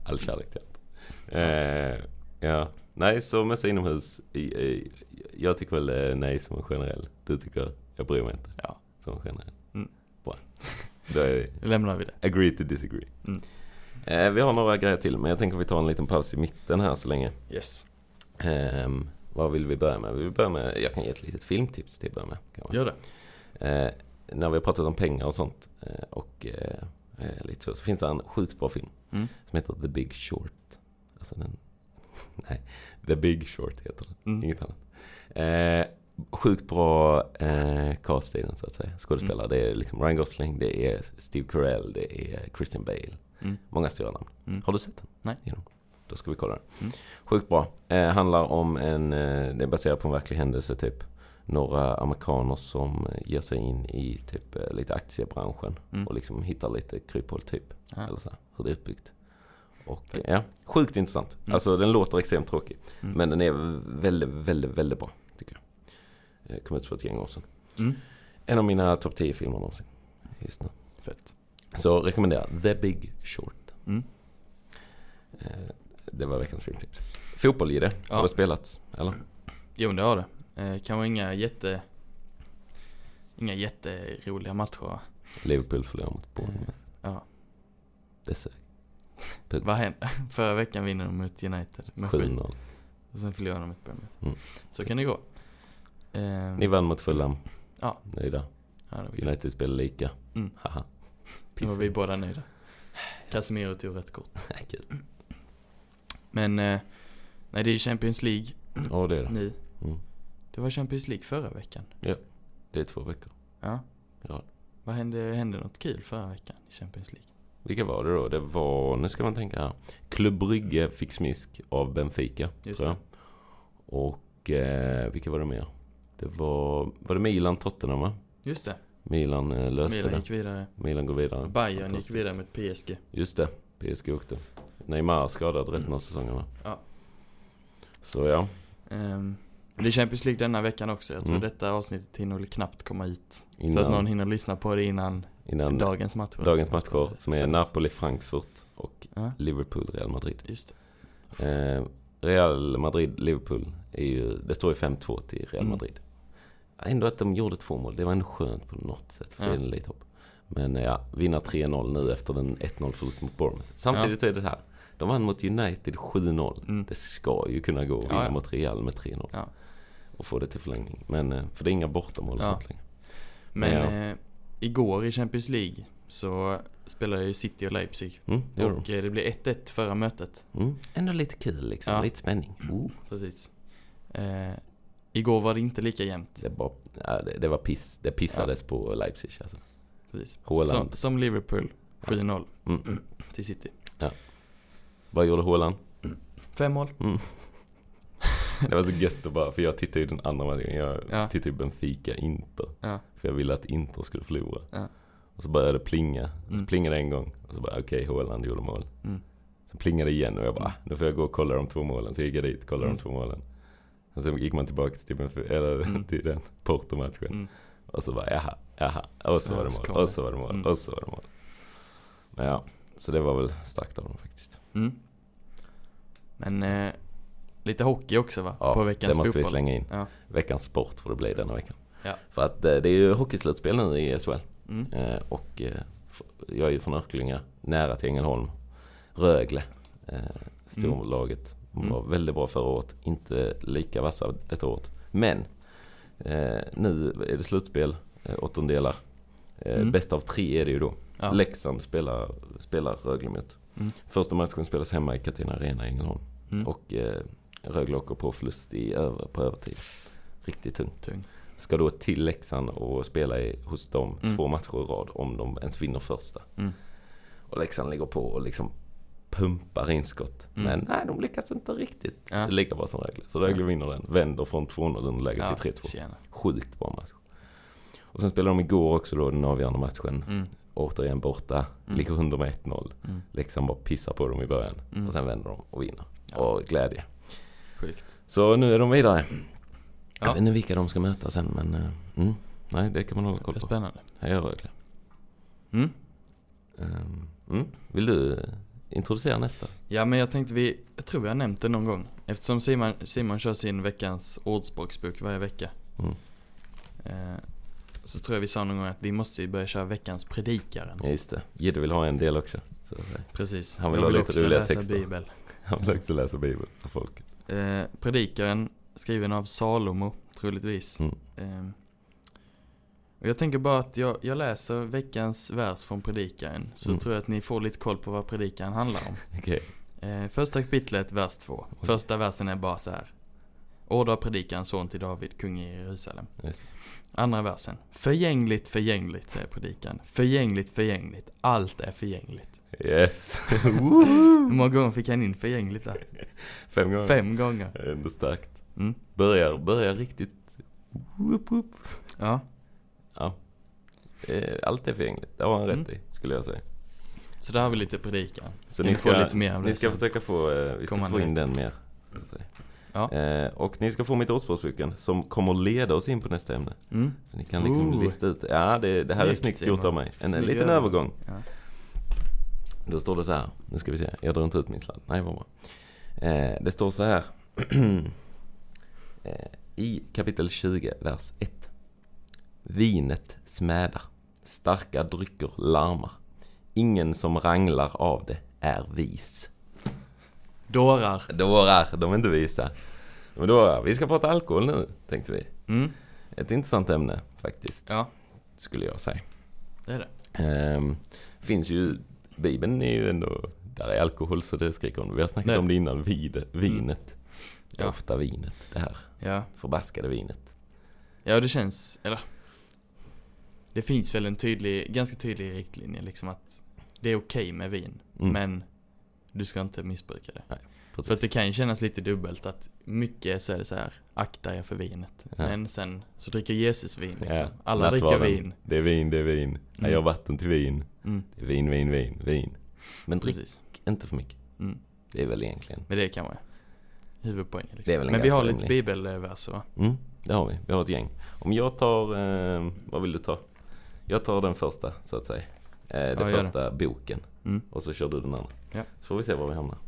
Speaker 2: All kärlek till allt. Eh, ja. Nej, så mössa inomhus. i- i- Jag tycker väl eh, nej som en generell. Du tycker jag bryr mig inte.
Speaker 1: Ja.
Speaker 2: Som en generell.
Speaker 1: Mm.
Speaker 2: Bra. Då är vi
Speaker 1: Nu lämnar vi det.
Speaker 2: agree to disagree.
Speaker 1: Mm.
Speaker 2: Eh, vi har några grejer till men jag tänker vi tar en liten paus i mitten här så länge.
Speaker 1: Yes.
Speaker 2: Ehm, vad vill vi börja med? Vi vill börja med? Jag kan ge ett litet filmtips till att börja med. Kan man?
Speaker 1: Gör det.
Speaker 2: Eh, när vi har pratat om pengar och sånt eh, och eh, eh, lite så, så finns det en sjukt bra film
Speaker 1: Mm.
Speaker 2: som heter The Big Short. Alltså den... Nej, The Big Short heter den,
Speaker 1: Mm.
Speaker 2: inget annat. Eh, sjukt bra eh, cast i den så att säga. Skådespelare, det är liksom Ryan Gosling, det är Steve Carell, det är Christian Bale.
Speaker 1: Mm.
Speaker 2: Många stora namn.
Speaker 1: Mm.
Speaker 2: Har du sett den?
Speaker 1: Nej.
Speaker 2: Genom? Då ska vi kolla den. Sjukt bra. Eh, handlar om en, eh, det är baserat på en verklig händelse typ. Några amerikaner som eh, ger sig in i typ eh, lite aktiebranschen
Speaker 1: Mm.
Speaker 2: och liksom hittar lite kryphål typ.
Speaker 1: Ja.
Speaker 2: Eller så här, hur det är uppbyggt. Och eh, ja, sjukt intressant. Alltså den låter extremt tråkig.
Speaker 1: Mm.
Speaker 2: Men den är väldigt, väldigt, väldigt bra tycker jag. Eh, Kom ut för ett gäng år sedan.
Speaker 1: Mm.
Speaker 2: En av mina topp 10 filmer någonsin. Just nu.
Speaker 1: Fett.
Speaker 2: Så rekommenderar jag The Big Short.
Speaker 1: Mm.
Speaker 2: Eh, Det var veckans filmtips. Fotboll i det. Har
Speaker 1: Ja.
Speaker 2: det spelats? Eller?
Speaker 1: Jo, men det har det. Eh, kanske inga jätte... Inga jätteroliga matcher. va?
Speaker 2: Liverpool förlorar mot Bournemouth.
Speaker 1: Ja.
Speaker 2: Det sög.
Speaker 1: Vad hände? Förra veckan vinner de mot United med 7
Speaker 2: 7-0.
Speaker 1: Och sen förlorar de mot Bournemouth.
Speaker 2: Mm.
Speaker 1: Så kan det gå. Eh,
Speaker 2: Ni vann mot Fulham.
Speaker 1: Ja.
Speaker 2: Nöjda.
Speaker 1: ja, det var kul.
Speaker 2: United spelar lika.
Speaker 1: Mm.
Speaker 2: Haha.
Speaker 1: Nu var
Speaker 2: Piss.
Speaker 1: vi båda nöjda. Casemiro tog rätt kort.
Speaker 2: Kul.
Speaker 1: Men, eh, nej det är ju Champions League
Speaker 2: Ja, det är det.
Speaker 1: nu.
Speaker 2: Mm.
Speaker 1: Det var Champions League förra veckan.
Speaker 2: Det är två veckor.
Speaker 1: Ja.
Speaker 2: Ja.
Speaker 1: Vad hände? Hände något kul förra veckan i Champions League?
Speaker 2: Vilka var det då? Det var, nu ska man tänka här. Klubb Brygge fick smisk av Benfica.
Speaker 1: Just
Speaker 2: tror jag. Och eh, vilka var det mer? Det var, var det Milan-Tottenham va?
Speaker 1: Just det.
Speaker 2: Milan eh, löste
Speaker 1: Milan
Speaker 2: det.
Speaker 1: gick vidare.
Speaker 2: Milan går vidare.
Speaker 1: Bayern gick
Speaker 2: Fantastiskt.
Speaker 1: vidare mot PSG.
Speaker 2: Just det, PSG åkte. Neymar skadad resten av säsongen va?
Speaker 1: Ja.
Speaker 2: Så ja,
Speaker 1: Ehm, det är Champions League denna veckan också. Jag tror
Speaker 2: Mm.
Speaker 1: detta avsnittet hinner väl knappt komma hit.
Speaker 2: innan,
Speaker 1: Så att någon hinner lyssna på det innan
Speaker 2: innan
Speaker 1: dagens match.
Speaker 2: dagens matcher som är Napoli-Frankfurt och
Speaker 1: Ja,
Speaker 2: Liverpool-Real Madrid.
Speaker 1: just det.
Speaker 2: Eh, Real Madrid-Liverpool är ju, det står ju 5-2 till Real
Speaker 1: Mm.
Speaker 2: Madrid. Ändå att de gjorde två mål, det var ändå skönt på något sätt. För
Speaker 1: Ja.
Speaker 2: det är lite hopp. Men eh, ja, vinna 3-0 nu efter den 1-0 förlust mot Bournemouth. Samtidigt så är det här, de vann mot United 7-0.
Speaker 1: Mm.
Speaker 2: Det ska ju kunna gå att vinna
Speaker 1: Ja, ja.
Speaker 2: mot Real med 3-0.
Speaker 1: Ja.
Speaker 2: Och få det till förlängning. Men, eh, för det är inga bortamål och
Speaker 1: Ja.
Speaker 2: sånt längre.
Speaker 1: Men
Speaker 2: Ja.
Speaker 1: eh, igår i Champions League så spelade ju City och Leipzig.
Speaker 2: Mm, det gjorde
Speaker 1: och eh, det blev 1-1 förra mötet.
Speaker 2: de. Mm. Ändå lite kul liksom,
Speaker 1: Ja.
Speaker 2: lite spänning. Oh.
Speaker 1: Precis. Eh, igår var det inte lika jämnt.
Speaker 2: Det, var, ja, det, det var piss, det pissades på Leipzig alltså.
Speaker 1: Precis.
Speaker 2: Haaland.
Speaker 1: Som, som Liverpool. 7-0
Speaker 2: Mm.
Speaker 1: till City.
Speaker 2: Vad gjorde Haaland?
Speaker 1: Fem mål.
Speaker 2: Det var så gött att bara, för jag tittade ju den andra matchen. Jag
Speaker 1: Ja.
Speaker 2: tittade ju Benfica, Inter.
Speaker 1: Ja.
Speaker 2: För jag ville att Inter skulle förlora.
Speaker 1: Ja.
Speaker 2: Och så började det plinga. Och så
Speaker 1: Mm.
Speaker 2: plingade det en gång. Och så bara, okej, Haaland gjorde mål.
Speaker 1: Mm.
Speaker 2: Så plingade det igen och jag bara, ah, nu får jag gå och kolla de två målen. Så gick jag dit, kollade
Speaker 1: Mm.
Speaker 2: de två målen. Och sen gick man tillbaka till, Benfica, eller,
Speaker 1: Mm.
Speaker 2: till den Porto-matchen.
Speaker 1: Mm.
Speaker 2: Och så bara, jaha, jaha. Och så
Speaker 1: Ja,
Speaker 2: var det
Speaker 1: så
Speaker 2: mål,
Speaker 1: kom
Speaker 2: och
Speaker 1: det.
Speaker 2: så var det mål,
Speaker 1: Mm.
Speaker 2: och så var det mål. Men ja, så det var väl starkt av dem faktiskt.
Speaker 1: Mm. Men eh, lite hockey också va?
Speaker 2: Ja,
Speaker 1: På veckans
Speaker 2: det måste
Speaker 1: fotboll.
Speaker 2: vi slänga in.
Speaker 1: Ja.
Speaker 2: Veckans sport får det bli denna veckan.
Speaker 1: Ja.
Speaker 2: För att eh, det är ju hockeyslutspel nu i SHL.
Speaker 1: Mm.
Speaker 2: Eh, och eh, f- jag är ju från Örkelljunga, nära till Ängelholm. Rögle, eh, storlaget.
Speaker 1: Mm.
Speaker 2: Var väldigt bra förra året, inte lika vassa detta året. Men eh, nu är det slutspel, eh, åttondelar. Eh,
Speaker 1: Mm.
Speaker 2: Bäst av tre är det ju då.
Speaker 1: Ja.
Speaker 2: Leksand spelar, spelar Rögle mot.
Speaker 1: Mm.
Speaker 2: Första matchen spelas hemma i Katina Arena i Ängelholm.
Speaker 1: Mm.
Speaker 2: Och eh, Rögle åker på förlust i över, på övertid. Riktigt tungt
Speaker 1: Tung.
Speaker 2: ska då till Leksand och spela i, hos dem
Speaker 1: Mm.
Speaker 2: två matcher i rad om de ens vinner första.
Speaker 1: Mm.
Speaker 2: Och Leksand ligger på och liksom pumpar in skott.
Speaker 1: Mm.
Speaker 2: Men nej, de lyckas inte riktigt.
Speaker 1: Ja.
Speaker 2: Det ligger bara som Rögle. Så Rögle vinner den. Vänder från 2-0 underläge
Speaker 1: Ja,
Speaker 2: till 3-2.
Speaker 1: tjena.
Speaker 2: Sjukt bra match. Och sen spelade de igår också då den avgörande matchen.
Speaker 1: Mm.
Speaker 2: Återigen borta.
Speaker 1: Mm.
Speaker 2: Ligger under med 1-0.
Speaker 1: Mm.
Speaker 2: Leksand bara pissar på dem i början.
Speaker 1: Mm.
Speaker 2: Och sen vänder de och vinner.
Speaker 1: Ja.
Speaker 2: Och glädje.
Speaker 1: Sjukt.
Speaker 2: Så nu är de vidare. Jag
Speaker 1: Ja.
Speaker 2: vet inte vilka de ska möta sen men... eh, Mm, nej, det kan man hålla koll på.
Speaker 1: Spännande.
Speaker 2: Jag gör Rögle.
Speaker 1: Mm.
Speaker 2: Ehm, mm. Vill du eh, introducera nästa?
Speaker 1: Ja men jag tänkte vi, jag tror jag har nämnt det någon gång. Eftersom Simon, Simon kör sin veckans ordspråksbok varje vecka.
Speaker 2: Mm.
Speaker 1: Eh, så tror jag vi sa någon gång att vi måste ju börja köra veckans predikaren.
Speaker 2: Ja, just det. Gidde vill ha en del också. Så, eh,
Speaker 1: Precis.
Speaker 2: Han vill
Speaker 1: Jag
Speaker 2: ha lite
Speaker 1: också
Speaker 2: roliga
Speaker 1: läsa
Speaker 2: texter.
Speaker 1: Bibel.
Speaker 2: han vill också läsa Bibeln för folket.
Speaker 1: Eh, predikaren skriven av Salomo, troligtvis.
Speaker 2: Mm.
Speaker 1: Eh, och jag tänker bara att jag, jag läser veckans vers från predikaren. Så
Speaker 2: Mm.
Speaker 1: tror jag att ni får lite koll på vad predikaren handlar om.
Speaker 2: Okej.
Speaker 1: Eh, första kapitlet, vers 2. Första versen är bara så här. Order av predikaren, son till David, kung i Jerusalem.
Speaker 2: Just det.
Speaker 1: Andra versen. Förgängligt, förgängligt, säger predikan. Förgängligt, förgängligt. Allt är förgängligt.
Speaker 2: Yes. Woho!
Speaker 1: Hur många gånger fick han in förgängligt där?
Speaker 2: Fem gånger.
Speaker 1: Fem gånger.
Speaker 2: Ändå starkt.
Speaker 1: Mm.
Speaker 2: Börjar, börjar riktigt... Woop, woop.
Speaker 1: Ja.
Speaker 2: Ja. Eh, Allt är förgängligt. Det har han rätt
Speaker 1: Mm.
Speaker 2: i, skulle jag säga.
Speaker 1: Så där har vi lite predikan.
Speaker 2: Så
Speaker 1: Kan ni få lite mer av
Speaker 2: ni
Speaker 1: det
Speaker 2: ska
Speaker 1: sen?
Speaker 2: försöka få, eh, vi ska
Speaker 1: Komma
Speaker 2: få
Speaker 1: ner.
Speaker 2: in den mer. så att säga.
Speaker 1: Ja.
Speaker 2: Eh, och ni ska få mitt ordspråksboken som kommer leda oss in på nästa ämne.
Speaker 1: Mm.
Speaker 2: Så ni kan liksom
Speaker 1: Ooh.
Speaker 2: lista ut. Ja, det, det här är
Speaker 1: Snyggt,
Speaker 2: snyggt
Speaker 1: Simon.
Speaker 2: gjort av mig. En, en
Speaker 1: Snygg
Speaker 2: liten
Speaker 1: övergång.
Speaker 2: övergång.
Speaker 1: Ja.
Speaker 2: Då står det så här. Nu ska vi se. Jag drar inte ut min sladd. Nej, vad bra. Eh, det står så här. eh, I kapitel 20, vers 1. Vinet smädar. Starka drycker larmar. Ingen som ranglar av det är vis.
Speaker 1: Dårar.
Speaker 2: Dårar, de är inte visa. Men då, vi ska prata alkohol nu, tänkte vi.
Speaker 1: Mm.
Speaker 2: Ett intressant ämne faktiskt,
Speaker 1: Ja,
Speaker 2: skulle jag säga.
Speaker 1: det är det.
Speaker 2: Ehm, finns ju, Bibeln är ju ändå, där är alkohol så det skriker om. Vi har snackat
Speaker 1: Nej. Mm.
Speaker 2: om det innan, vid, vinet. Det är
Speaker 1: Ja.
Speaker 2: Ofta vinet, det här
Speaker 1: Ja.
Speaker 2: förbaskade vinet.
Speaker 1: ja, det känns, eller. Det finns väl en tydlig, ganska tydlig riktlinje liksom att det är okej med vin.
Speaker 2: Mm,
Speaker 1: Men du ska inte missbruka det.
Speaker 2: precis.
Speaker 1: För att det kan ju kännas lite dubbelt att mycket så är det så här, akta er för vinet.
Speaker 2: Ja.
Speaker 1: Men sen så dricker Jesus vin liksom.
Speaker 2: Ja,
Speaker 1: Alla dricker
Speaker 2: nattvarden.
Speaker 1: vin.
Speaker 2: Det är vin, det är vin. Jag gör vatten till vin.
Speaker 1: Mm.
Speaker 2: Det är vin, vin, vin, vin. Men drick
Speaker 1: Precis.
Speaker 2: inte för mycket.
Speaker 1: Mm.
Speaker 2: Det är väl egentligen.
Speaker 1: Men det kan vara huvudpoängen
Speaker 2: Det är
Speaker 1: liksom.
Speaker 2: väl en
Speaker 1: Men vi har
Speaker 2: ganska
Speaker 1: lite
Speaker 2: rimlig.
Speaker 1: bibelverser va?
Speaker 2: Mm, det har vi. Vi har ett gäng. Om jag tar, eh, vad vill du ta? Jag tar den första så att säga. Eh,
Speaker 1: Ja,
Speaker 2: den
Speaker 1: gör det.
Speaker 2: första boken.
Speaker 1: Mm.
Speaker 2: Och så kör du den andra.
Speaker 1: Ja.
Speaker 2: Så får vi se var vi hamnar.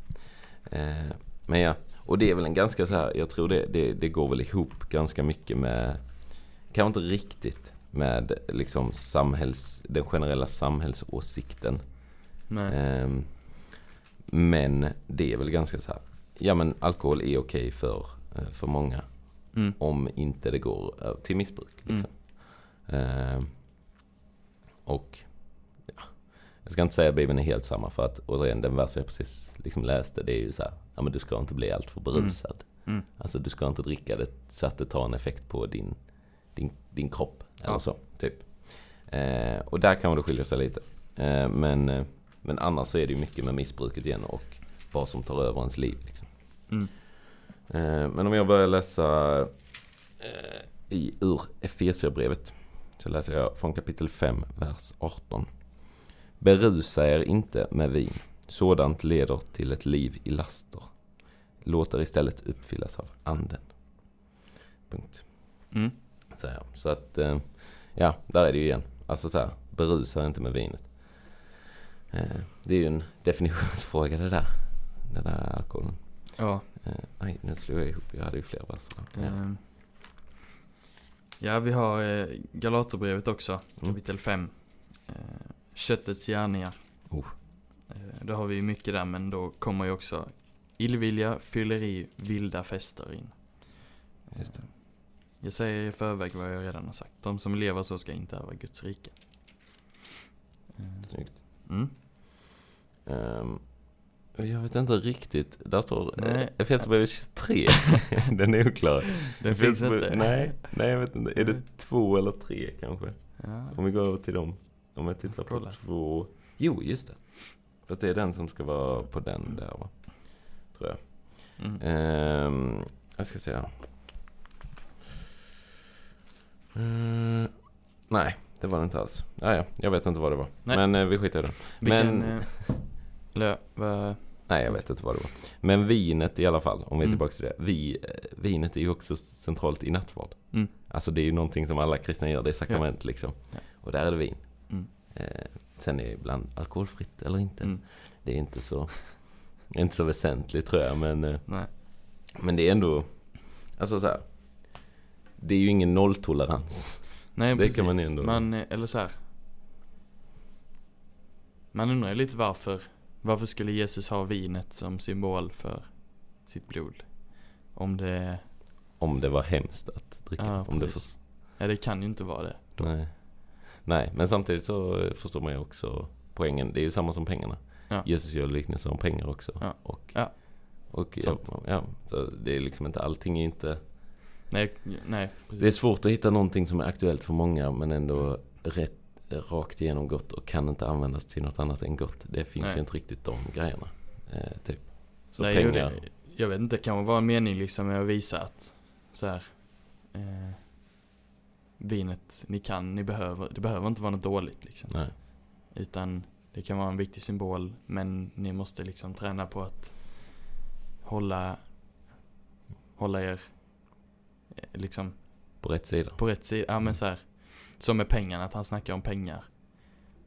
Speaker 2: Eh, men ja, och det är väl en ganska så här, jag tror det, det, det går väl ihop ganska mycket med, kanske inte riktigt med liksom samhälls, den generella samhällsåsikten.
Speaker 1: Nej.
Speaker 2: Ehm, men det är väl ganska så här, ja men alkohol är okej för, eh, för många
Speaker 1: Mm.
Speaker 2: om inte det går ö- till missbruk. Liksom.
Speaker 1: Mm.
Speaker 2: Ehm, och ja, jag ska inte säga att Bibeln är helt samma för att återigen den vers jag precis liksom läste det är ju så här, ja men du ska inte bli alltför berusad.
Speaker 1: Mm.
Speaker 2: Alltså du ska inte dricka det så att det tar en effekt på din, din, din kropp. Eller
Speaker 1: Ja.
Speaker 2: så, typ. Eh, och där kan det skilja sig lite. Eh, men, eh, men annars så är det ju mycket med missbruket igen och vad som tar över ens liv. Liksom.
Speaker 1: Mm.
Speaker 2: Eh, Men om jag börjar läsa eh, i, ur Efesierbrevet. Så läser jag från kapitel 5, vers 18. Berusa er inte med vin. Sådant leder till ett liv i laster. Låt er istället uppfyllas av anden. Punkt.
Speaker 1: Mm.
Speaker 2: Så, här. så att, eh, ja, där är det ju igen. Alltså så här, berusa er inte med vinet. Eh, Det är ju en definitionsfråga det där. Den där alkoholen.
Speaker 1: Ja.
Speaker 2: Eh, aj, nu slog jag ihop. Jag hade ju fler verser. Ja.
Speaker 1: Ehm. Ja, vi har eh, Galaterbrevet också,
Speaker 2: Mm.
Speaker 1: kapitel 5. Eh, köttets gärningar.
Speaker 2: Oh.
Speaker 1: Eh, då har vi ju mycket där, men då kommer ju också illvilja, fylleri, vilda fester in.
Speaker 2: Just det.
Speaker 1: Eh, jag säger i förväg vad jag redan har sagt. De som lever så ska inte ärva Guds rike. Eh,
Speaker 2: Snyggt.
Speaker 1: Mm.
Speaker 2: Ehm, jag vet inte riktigt. Där står eh,
Speaker 1: Nej.
Speaker 2: Efesierbrevet 23. Den är oklar.
Speaker 1: Den finns
Speaker 2: Efesierbrevet-
Speaker 1: inte.
Speaker 2: Nej, nej, jag vet inte. Är det
Speaker 1: Nej.
Speaker 2: två eller tre kanske?
Speaker 1: Ja.
Speaker 2: Om vi går över till dem. Om jag tittar på
Speaker 1: Kolla.
Speaker 2: två. Jo, just det. För att det är den som ska vara på den där va? Tror jag.
Speaker 1: Mm.
Speaker 2: Ehm, jag ska se. här. Mm, nej, det var det inte alls. Ah, ja, jag vet inte vad det var.
Speaker 1: Nej.
Speaker 2: Men eh, vi skiter i det.
Speaker 1: Vilken...
Speaker 2: men-
Speaker 1: eh, lö, vad-
Speaker 2: Nej, jag vet inte vad det var. Men vinet i alla fall, om vi är
Speaker 1: Mm.
Speaker 2: tillbaka till det. Vi, eh, vinet är ju också centralt i nattvard.
Speaker 1: Mm.
Speaker 2: Alltså det är ju någonting som alla kristna gör, det är sakrament liksom.
Speaker 1: Ja.
Speaker 2: Och där är det vin.
Speaker 1: Mm.
Speaker 2: Eh, sen är det ibland alkoholfritt eller inte.
Speaker 1: Mm.
Speaker 2: Det är inte så, inte så väsentligt tror jag, men, eh,
Speaker 1: Nej.
Speaker 2: men det är ändå, alltså så här. Det är ju ingen nolltolerans.
Speaker 1: Nej,
Speaker 2: Det
Speaker 1: precis.
Speaker 2: kan man ändå-
Speaker 1: Man, eh, eller så här. Man undrar ju lite varför. Varför skulle Jesus ha vinet som symbol för sitt blod? Om det...
Speaker 2: Om det var hemskt att dricka.
Speaker 1: Ja,
Speaker 2: om det
Speaker 1: precis. Ja, det kan ju inte vara det.
Speaker 2: Nej. Nej, men samtidigt så eh, förstår man ju också poängen. Det är ju samma som pengarna.
Speaker 1: Ja.
Speaker 2: Jesus gör liknelser om pengar också.
Speaker 1: Ja.
Speaker 2: Och,
Speaker 1: Ja.
Speaker 2: och ja,
Speaker 1: Sant.
Speaker 2: ja, så det är liksom inte, allting är inte...
Speaker 1: Nej, nej
Speaker 2: Det är
Speaker 1: precis. Mm.
Speaker 2: svårt att hitta någonting som är aktuellt för många men ändå rätt, eh, rakt igenom gott och kan inte användas till något annat än gott. Det finns
Speaker 1: Nej.
Speaker 2: ju inte riktigt de grejerna. Eh, typ. Så
Speaker 1: Nej, jo,
Speaker 2: pengar.
Speaker 1: det, jag vet inte, det kan vara en mening liksom med att visa att så här, eh, Vinet ni kan, ni behöver, det behöver inte vara något dåligt liksom.
Speaker 2: Nej.
Speaker 1: Utan det kan vara en viktig symbol men ni måste liksom träna på att hålla, hålla er eh, liksom
Speaker 2: På rätt sida.
Speaker 1: på rätt sida. Ja men så här, som med pengarna, att han snackar om pengar.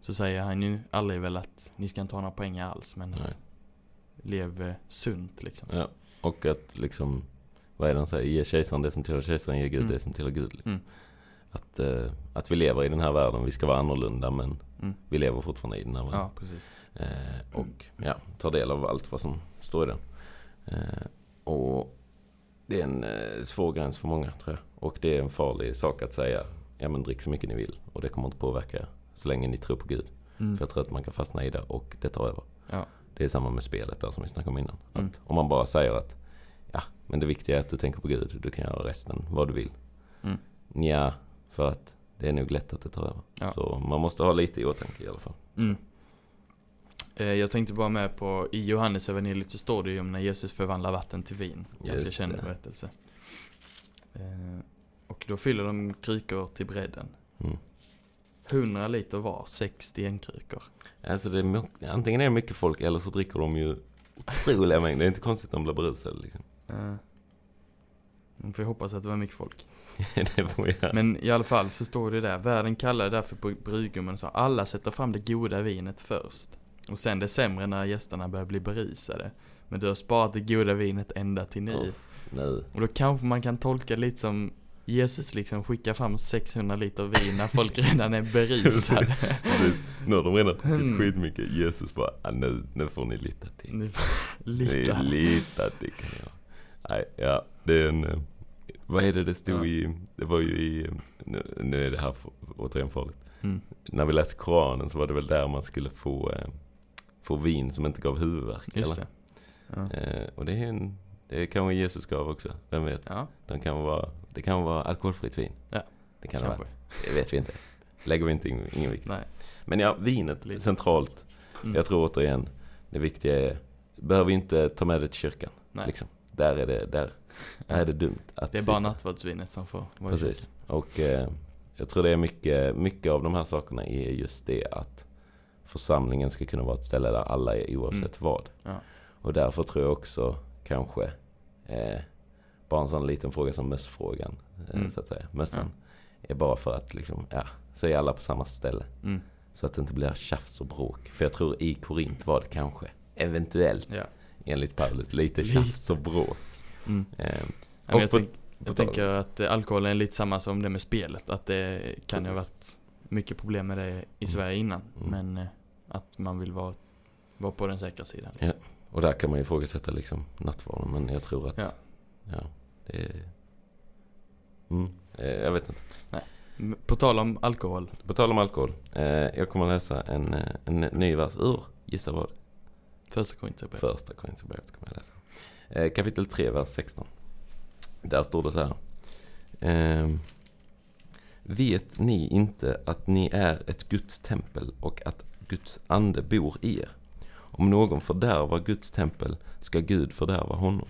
Speaker 1: Så säger han ju aldrig väl att ni ska inte ha några pengar alls men
Speaker 2: Nej.
Speaker 1: att lev eh, sunt liksom.
Speaker 2: Ja. Och att liksom, vad är det han säger? Ge kejsaren det som tillhör kejsaren, ge Gud
Speaker 1: Mm.
Speaker 2: det som tillhör Gud.
Speaker 1: Mm.
Speaker 2: Att, eh, att vi lever i den här världen, vi ska vara annorlunda men
Speaker 1: Mm.
Speaker 2: vi lever fortfarande i den här världen.
Speaker 1: Ja precis.
Speaker 2: Eh, och ja, ta del av allt vad som står i den. Eh, och det är en eh, svår gräns för många tror jag. Och det är en farlig sak att säga, ja men drick så mycket ni vill och det kommer inte påverka er så länge ni tror på Gud.
Speaker 1: Mm.
Speaker 2: För jag tror att man kan fastna i det och det tar över.
Speaker 1: Ja.
Speaker 2: Det är samma med spelet där som vi snackade om innan.
Speaker 1: Mm.
Speaker 2: Att om man bara säger att ja, men det viktiga är att du tänker på Gud, du kan göra resten vad du vill.
Speaker 1: Mm.
Speaker 2: Nja, för att det är nog lätt att det tar över.
Speaker 1: Ja.
Speaker 2: Så man måste ha lite i åtanke i alla fall.
Speaker 1: Mm. Eh, Jag tänkte bara med på, i Johannes evangeliet så står det ju om när Jesus förvandlar vatten till vin. Ganska
Speaker 2: Just
Speaker 1: känd
Speaker 2: det.
Speaker 1: berättelse. Eh, Och då fyller de krukor till bredden.
Speaker 2: Mm.
Speaker 1: 100 liter var, 6 stenkrukor.
Speaker 2: Alltså det är, mo- antingen är det mycket folk eller så dricker de ju otroliga mängder. Det är inte konstigt att de blir berusade liksom.
Speaker 1: Eh, Man får ju hoppas att det var mycket folk.
Speaker 2: det får jag.
Speaker 1: Men i alla fall så står det där, världen kallar därför på brygummen så alla sätter fram det goda vinet först. Och sen det sämre när gästerna börjar bli berusade. Men du har sparat det goda vinet ända till nu.
Speaker 2: Åh, nej.
Speaker 1: Och då kanske man kan tolka lite som Jesus liksom skickar fram 600 liter vin när folk redan är berusade.
Speaker 2: Precis. Nu har de redan
Speaker 1: Mm.
Speaker 2: druckit skitmycket. Jesus bara, ah, nu, nu får ni lita till.
Speaker 1: Nu
Speaker 2: Det
Speaker 1: lite.
Speaker 2: är lite att det kan jag. Nej, ja, det är en... eh, Vad är det det stod
Speaker 1: Ja.
Speaker 2: i... Det var ju i... eh, Nu, nu är det här f- återigen farligt.
Speaker 1: Mm.
Speaker 2: När vi läste Koranen så var det väl där man skulle få, eh, få vin som inte gav huvudvärk.
Speaker 1: Just
Speaker 2: eller?
Speaker 1: det. Ja.
Speaker 2: Eh, och det är en... Det kanske Jesus gav också. Vem vet?
Speaker 1: Ja,
Speaker 2: De kan vara, det kan vara alkoholfritt vin.
Speaker 1: Ja,
Speaker 2: Det kan det vara.
Speaker 1: kanske.
Speaker 2: Det vet vi inte. Lägger vi inte in, ingen vikt.
Speaker 1: Nej.
Speaker 2: Men ja, vinet
Speaker 1: Lite
Speaker 2: centralt.
Speaker 1: Mm.
Speaker 2: Jag tror återigen, det viktiga är, behöver ju inte ta med det till kyrkan.
Speaker 1: Nej.
Speaker 2: Liksom. Där är det, där, där är det dumt att
Speaker 1: Det är bara
Speaker 2: sitta.
Speaker 1: nattvardsvinet som får vara i
Speaker 2: Precis.
Speaker 1: kyrkan.
Speaker 2: Och eh, jag tror det är mycket, mycket av de här sakerna är just det att församlingen ska kunna vara ett ställe där alla är oavsett
Speaker 1: Mm.
Speaker 2: vad.
Speaker 1: Ja.
Speaker 2: Och därför tror jag också kanske, eh, bara en sån liten fråga som mössfrågan, eh,
Speaker 1: Mm.
Speaker 2: så att säga. Mössan är bara för att liksom, ja, så är alla på samma ställe.
Speaker 1: Mm.
Speaker 2: Så att det inte blir tjafs och bråk. För jag tror i Korint var det kanske, eventuellt,
Speaker 1: Ja.
Speaker 2: enligt Paulus, lite
Speaker 1: Lite.
Speaker 2: tjafs och bråk.
Speaker 1: Mm.
Speaker 2: Eh,
Speaker 1: Ja, men jag,
Speaker 2: på-
Speaker 1: tänk,
Speaker 2: på
Speaker 1: jag
Speaker 2: tal-
Speaker 1: tänker att eh, alkoholen är lite samma som det med spelet. Att det kan ju ha
Speaker 2: Precis.
Speaker 1: varit mycket problem med det i
Speaker 2: Mm.
Speaker 1: Sverige innan.
Speaker 2: Mm.
Speaker 1: Men eh, att man vill vara, vara på den säkra sidan.
Speaker 2: Ja. Och där kan man ju ifrågasätta liksom nattvarden. Men jag tror att...
Speaker 1: Ja.
Speaker 2: Ja. det är... Mm, eh, jag vet inte.
Speaker 1: M- På tal om alkohol.
Speaker 2: På tal om alkohol. Eh, jag kommer läsa en, eh, en ny vers ur, gissa vad,
Speaker 1: Första Korinthierbrevet.
Speaker 2: första Korinthierbrevet kommer jag läsa. Eh, kapitel 3, vers 16. Där står det så här. Ehm, vet ni inte att ni är ett Guds tempel och att Guds ande bor i er? Om någon fördärvar Guds tempel ska Gud fördärva honom.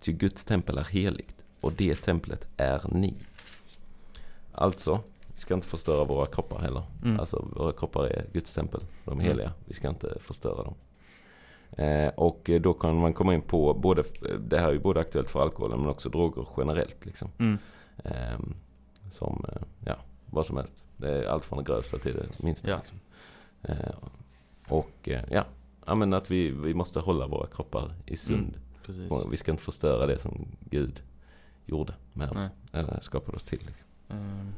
Speaker 2: Ty Guds tempel är heligt och det templet är ni. Alltså, vi ska inte förstöra våra kroppar heller.
Speaker 1: Mm.
Speaker 2: Alltså våra kroppar är Guds tempel. De är
Speaker 1: Mm.
Speaker 2: heliga. Vi ska inte förstöra dem. Eh, och eh, då kan man komma in på både, eh, det här är ju både aktuellt för alkoholen men också droger generellt liksom.
Speaker 1: Mm.
Speaker 2: Ehm, som, eh, ja, vad som helst. Det är allt från det grövsta till det minsta.
Speaker 1: Ja.
Speaker 2: Liksom. Eh, och eh, ja, ja men att vi, vi måste hålla våra kroppar i sund.
Speaker 1: Mm, Precis.
Speaker 2: Och Vi ska inte förstöra det som Gud gjorde med oss.
Speaker 1: Nej.
Speaker 2: Eller skapade oss till. Liksom.
Speaker 1: Ehm.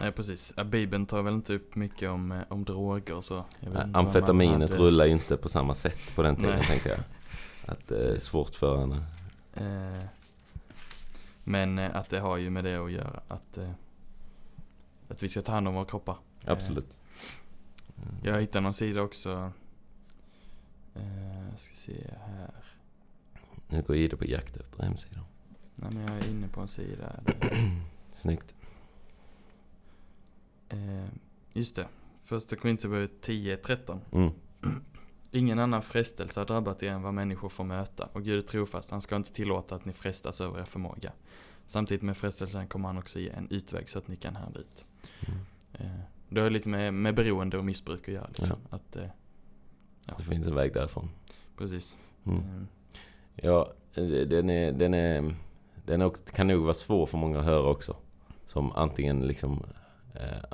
Speaker 1: Nej precis, Ja, Bibeln tar väl inte upp mycket om, eh, om droger och så. Jag vet inte
Speaker 2: Eh,
Speaker 1: vad man
Speaker 2: Amfetaminet
Speaker 1: hade.
Speaker 2: rullar ju inte på samma sätt på den tiden
Speaker 1: Nej.
Speaker 2: tänker jag. Att det är
Speaker 1: Precis.
Speaker 2: svårt för henne.
Speaker 1: Eh, Men eh, att det har ju med det att göra. Att, eh, att vi ska ta hand om våra kroppar. Eh,
Speaker 2: Absolut.
Speaker 1: Jag hittade någon sida också. Eh, Jag ska se här.
Speaker 2: Nu går Ida på jakt efter hemsidor.
Speaker 1: Nej men jag är inne på en sida. där.
Speaker 2: Snyggt.
Speaker 1: Eh, Just det. Första Korinthierbrevet 10.13.
Speaker 2: Mm.
Speaker 1: Ingen annan frestelse har drabbat er än vad människor får möta. Och Gud är trofast, han ska inte tillåta att ni frestas över er förmåga. Samtidigt med frestelsen kommer han också ge en utväg så att ni kan här dit.
Speaker 2: Mm.
Speaker 1: Eh, det har lite med, med beroende och missbruk att göra. Liksom. Att, eh, ja,
Speaker 2: Det finns en väg därifrån.
Speaker 1: precis.
Speaker 2: Mm.
Speaker 1: Eh,
Speaker 2: Ja, eh, den, är, den, är, den är också, kan nog vara svår för många att höra också. Som antingen liksom... Eh,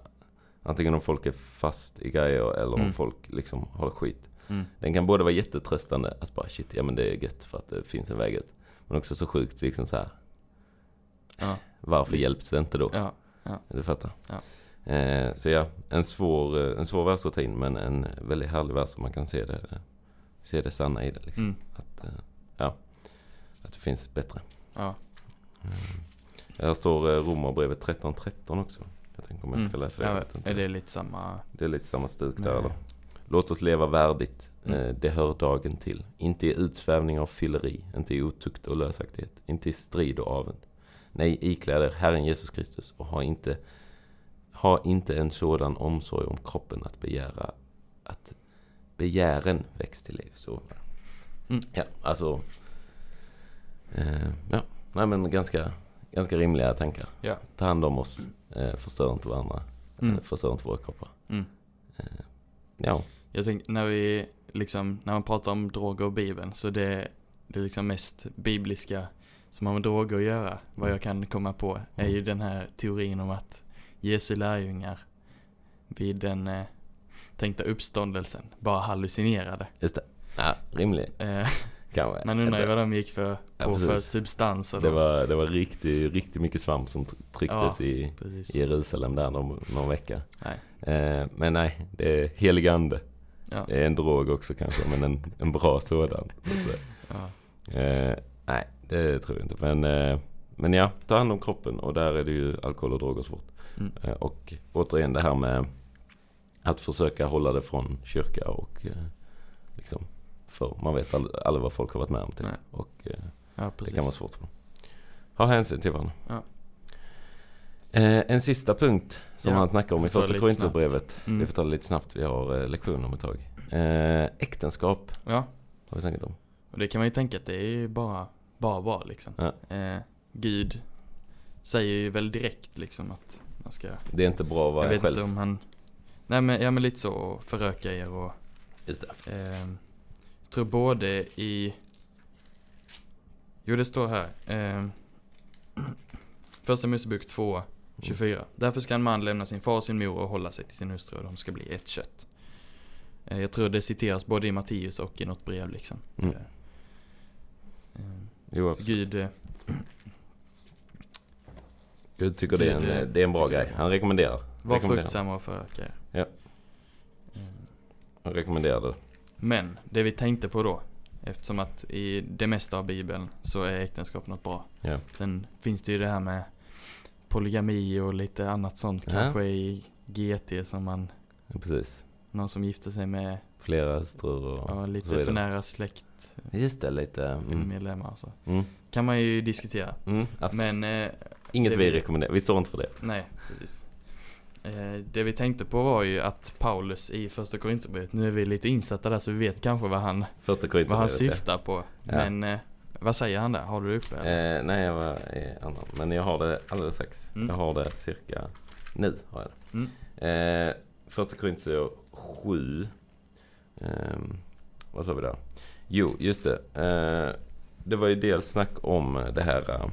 Speaker 2: antingen om folk är fast i grejer eller om
Speaker 1: Mm.
Speaker 2: folk liksom har skit.
Speaker 1: Mm.
Speaker 2: Den kan både vara jättetröstande att bara shit, ja men det är gött för att det finns en väg ut. Men också så sjukt liksom så här.
Speaker 1: Ja.
Speaker 2: Varför
Speaker 1: Lite.
Speaker 2: hjälps det inte då?
Speaker 1: Ja,
Speaker 2: Du fattar?
Speaker 1: Ja.
Speaker 2: Eh, så ja, en svår, eh, en svår vers att ta in men en väldigt härlig vers som man kan se det, eh, se det sanna i det. Liksom.
Speaker 1: mm,
Speaker 2: Att, eh, ja, att det finns bättre.
Speaker 1: ja,
Speaker 2: Här står eh, Romarbrevet 13.13 också. Jag tänker om jag ska
Speaker 1: Mm.
Speaker 2: läsa det.
Speaker 1: ja,
Speaker 2: Jag vet inte.
Speaker 1: är det lite samma?
Speaker 2: Det är lite samma stuk där
Speaker 1: Nej.
Speaker 2: eller? Låt oss leva värdigt, eh,
Speaker 1: Mm.
Speaker 2: det hör dagen till. Inte i utsvävning av fylleri, inte i otukt och lösaktighet, inte i strid och avund. Nej, ikläd er Herren Jesus Kristus och ha inte, ha inte en sådan omsorg om kroppen att begära att begären väcks till liv. Så.
Speaker 1: Mm.
Speaker 2: Ja, alltså. Eh, ja, nej men ganska, ganska rimliga tankar.
Speaker 1: Ja.
Speaker 2: Ta hand om oss, eh, förstör inte varandra,
Speaker 1: Mm.
Speaker 2: eh, förstör inte våra kroppar.
Speaker 1: Mm.
Speaker 2: Ja.
Speaker 1: Jag tänkte när vi liksom, när man pratar om droger och bibeln så det, det är liksom mest bibliska som har med droger att göra,
Speaker 2: Mm.
Speaker 1: vad jag kan komma på, är ju den här teorin om att Jesu lärjungar vid den eh, tänkta uppståndelsen bara hallucinerade.
Speaker 2: Just det. Ja, rimlig
Speaker 1: Eh,
Speaker 2: kanske.
Speaker 1: man undrar ju
Speaker 2: det,
Speaker 1: vad de gick för,
Speaker 2: Ja,
Speaker 1: på för
Speaker 2: precis.
Speaker 1: substanser.
Speaker 2: det
Speaker 1: då.
Speaker 2: var, det var riktigt, riktigt mycket svamp som tr- trycktes
Speaker 1: Ja.
Speaker 2: i,
Speaker 1: Precis.
Speaker 2: i Jerusalem där någon, någon vecka.
Speaker 1: Nej.
Speaker 2: Eh, men nej, det är helig ande.
Speaker 1: Ja.
Speaker 2: Det är en drog också kanske, men en, en bra sådan.
Speaker 1: Ja.
Speaker 2: Eh, nej, det tror jag inte. Men, eh, men ja, ta hand om kroppen och där är det ju alkohol och droger svårt.
Speaker 1: Mm.
Speaker 2: Eh, och återigen det här med att försöka hålla det från kyrka och eh, liksom, för man vet ald- aldrig vad folk har varit med om. Typ.
Speaker 1: Nej.
Speaker 2: Och, eh,
Speaker 1: ja, precis.
Speaker 2: Det kan vara svårt för dem. Ha hänsyn till varandra.
Speaker 1: Ja.
Speaker 2: Eh, en sista punkt som
Speaker 1: Ja,
Speaker 2: han snackar om i
Speaker 1: vi får ta det
Speaker 2: första
Speaker 1: lite
Speaker 2: Korinthierbrevet.
Speaker 1: Mm.
Speaker 2: Vi får ta det lite snabbt, vi har eh, lektion om ett tag. Eh, äktenskap
Speaker 1: Ja,
Speaker 2: har vi snackat om.
Speaker 1: och det kan man ju tänka att det är ju bara, bara bra liksom. Eh, Gud säger ju väl direkt liksom att man ska
Speaker 2: Det är inte bra
Speaker 1: Jag
Speaker 2: att vara
Speaker 1: vet
Speaker 2: själv.
Speaker 1: inte om han... Nej men, ja, men lite så, och föröka er och...
Speaker 2: Just det.
Speaker 1: ehm, jag tror både i... Jo det står här. ehm, första Mosebok 2, 24. Därför ska en man lämna sin far och sin mor och hålla sig till sin hustru och de ska bli ett kött. Eh, jag tror det citeras både i Matteus och i något brev liksom.
Speaker 2: Mm.
Speaker 1: Eh, ehm,
Speaker 2: Jo, absolut.
Speaker 1: Gud, eh,
Speaker 2: Gud tycker det är, en,
Speaker 1: Gud, eh,
Speaker 2: eh, det är en bra
Speaker 1: tycker
Speaker 2: grej. Han rekommenderar.
Speaker 1: var
Speaker 2: Rekommenderar.
Speaker 1: fruktsamma och föröka er.
Speaker 2: Han rekommenderar det.
Speaker 1: Men det vi tänkte på då, eftersom att i det mesta av bibeln så är äktenskap något bra.
Speaker 2: Ja.
Speaker 1: Sen finns det ju det här med polygami och lite annat sånt
Speaker 2: Ja.
Speaker 1: kanske i GT som man,
Speaker 2: Precis.
Speaker 1: någon som gifter sig med
Speaker 2: Flera hustrur och...
Speaker 1: ja,
Speaker 2: så är
Speaker 1: lite
Speaker 2: det.
Speaker 1: för nära släktmedlemmar
Speaker 2: Just det, lite... Mm.
Speaker 1: och så.
Speaker 2: Mm.
Speaker 1: Kan man ju diskutera.
Speaker 2: Mm, absolut.
Speaker 1: Men eh,
Speaker 2: Inget
Speaker 1: det
Speaker 2: vi
Speaker 1: vi-
Speaker 2: rekommenderar. Vi står inte för det.
Speaker 1: nej, precis. Eh, det vi tänkte på var ju att Paulus i första Korinthierbrevet, nu är vi lite insatta där så vi vet kanske vad han,
Speaker 2: Första
Speaker 1: vad han
Speaker 2: Korinthierbrevet. ja.
Speaker 1: syftar på.
Speaker 2: Ja.
Speaker 1: Men eh, vad säger han där? Har du det uppe? eller?
Speaker 2: Eh, nej, jag var i annan. Men jag har det alldeles strax.
Speaker 1: Mm.
Speaker 2: Jag har det cirka nu. Har jag det. Eh, första Korinther 7. Ehm, vad sa vi där? Jo, just det. Eh, det var ju dels snack om det här.